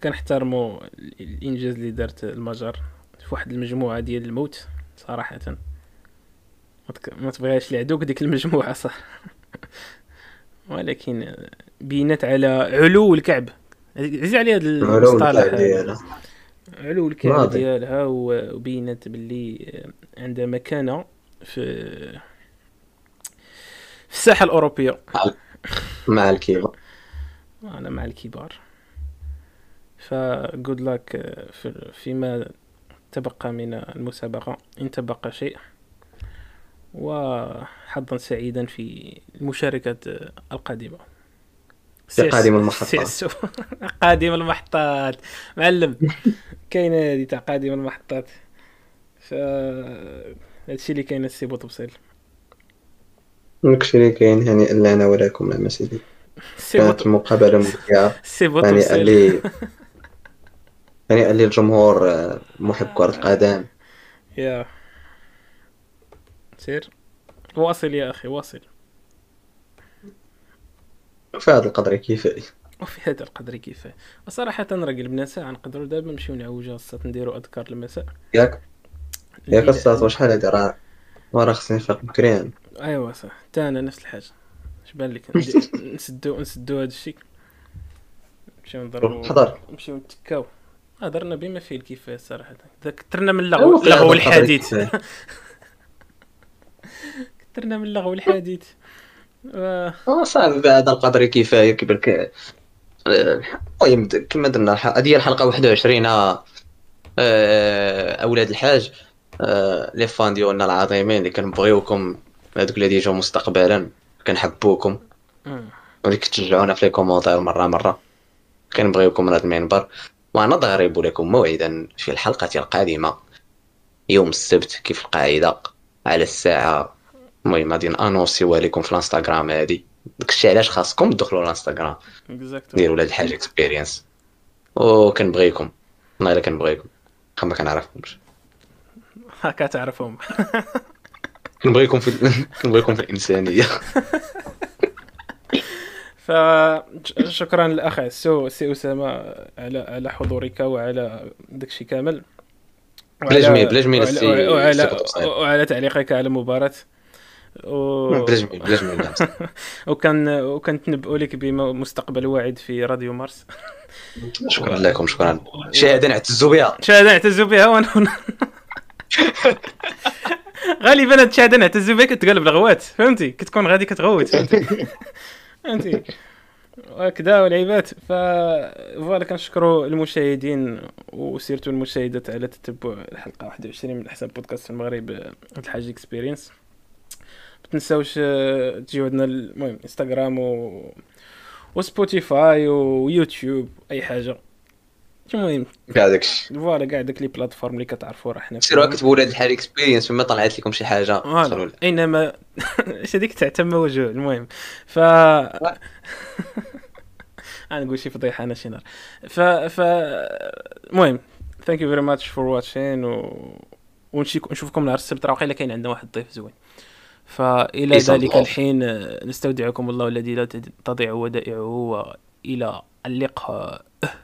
كنحترموا ال- الانجاز اللي دارت المجر في واحد المجموعه ديال الموت صراحه ما تك- ما تبغيهاش العدوك ديك المجموعه صح ولكن آه، بينت على علو الكعب عزيز علي هذا
العلوم
المصطلح
تاع
هذا.
ديالها
علو الكعب
واضح.
ديالها و- وبينت باللي عندها مكانه في في الساحه الاوروبيه
مع الكيبا
انا مع الكبار فجود لاك آه، في فيما تبقى من المسابقه ان تبقى شيء وحظا سعيدا في آه، المشاركه القادمه
في قادم
سي
المحطة
اس او. قادم المحطات معلم كاينه هذه تاع قادم المحطات ف هادشي اللي كاين السي بوطبسيل
داكشي اللي كاين يعني الا انا ولاكم يا سيدي
السي
كانت
بوط-
مقابله ممتعه
السي
يعني قال
بوطبسيل
لي يعني قال لي الجمهور آه، محب كره القدم
يا سير واصل يا اخي واصل
في هذا القدر كيفاش
وفي هذا القدر كفايه وصراحه راه قلبنا ساعه نقدروا دابا نمشيو نعوجوا الصات نديروا اذكار المساء
ياك ياك
الليلة-
الصاط وشحال هادي راه وراه خصني نفيق بكري
ايوا صح حتى انا نفس الحاجه اش بان لك ندي- نسدو نسدو هذا الشيء نمشيو نضربوا
حضر
نمشيو نتكاو هضرنا بما فيه الكفايه صراحه ذاك كثرنا من
أيوا
اللغو
في هذا
اللغو
القدر
الحديث
كفاية.
كثرنا من اللغو الحديث آه. و-
اه صعب بعد القدر كفايه كبر ك- آه، المهم د- كما درنا الح- هذه هي الحلقه 21 آه، آه، اولاد الحاج آه، لي فان ديالنا العظيمين اللي كنبغيوكم هذوك اللي يجوا مستقبلا كنحبوكم
مم.
واللي كتشجعونا في لي كومونتير مره مره كنبغيوكم من هذا المنبر ونضرب لكم موعدا في الحلقه القادمه يوم السبت كيف القاعده على الساعه المهم غادي نانونسيوها لكم في الانستغرام هادي داكشي علاش خاصكم تدخلوا الانستغرام
اكزاكتو
ديروا ولاد الحاج اكسبيرينس وكنبغيكم والله الا كنبغيكم واخا ما كنعرفكمش
هكا تعرفهم
كنبغيكم في ال- كنبغيكم في الانسانيه
فشكرا الاخ عسو سي اسامه على على حضورك وعلى داكشي كامل
بلا جميل- بلا جميل
وعلى,
السي-
وعلى, وعلى,
السي قطب صعيب.
وعلى تعليقك على المباراه و...
بلا جميل بلا جميل نعم.
وكان وكنتنبؤوا لك بمستقبل واعد في راديو مارس
شكرا لكم شكرا شهاده نعتزوا بها
شهاده نعتزوا بها وانا غالبا هاد الشهاده نعتزوا بها كتقلب الغوات فهمتي كتكون غادي كتغوت فهمتي فهمتي وهكذا والعيبات ف فوالا كنشكروا المشاهدين وسيرتو المشاهدات على تتبع الحلقه 21 من احسن بودكاست في المغرب آه، الحاج اكسبيرينس ما تنساوش آه، تجيو عندنا المهم انستغرام و وسبوتيفاي ويوتيوب اي حاجه المهم
كاع داكشي
فوالا كاع داك لي بلاتفورم اللي كتعرفوا راه حنا
سيروا
فيهم.
كتبوا ولاد الحاج اكسبيرينس فما طلعت لكم شي حاجه
فوالا
دخلوا
اينما اش هذيك تعتم وجوه المهم ف غنقول شي فضيحه انا شي نهار ف ف المهم ثانك يو فيري ماتش فور واتشين و ونشي- نشوفكم نهار السبت راه واقيلا كاين عندنا واحد الضيف زوين فالى
Peace and
ذلك
love.
الحين آه، نستودعكم الله الذي لا تضيع ودائعه والى اللقاء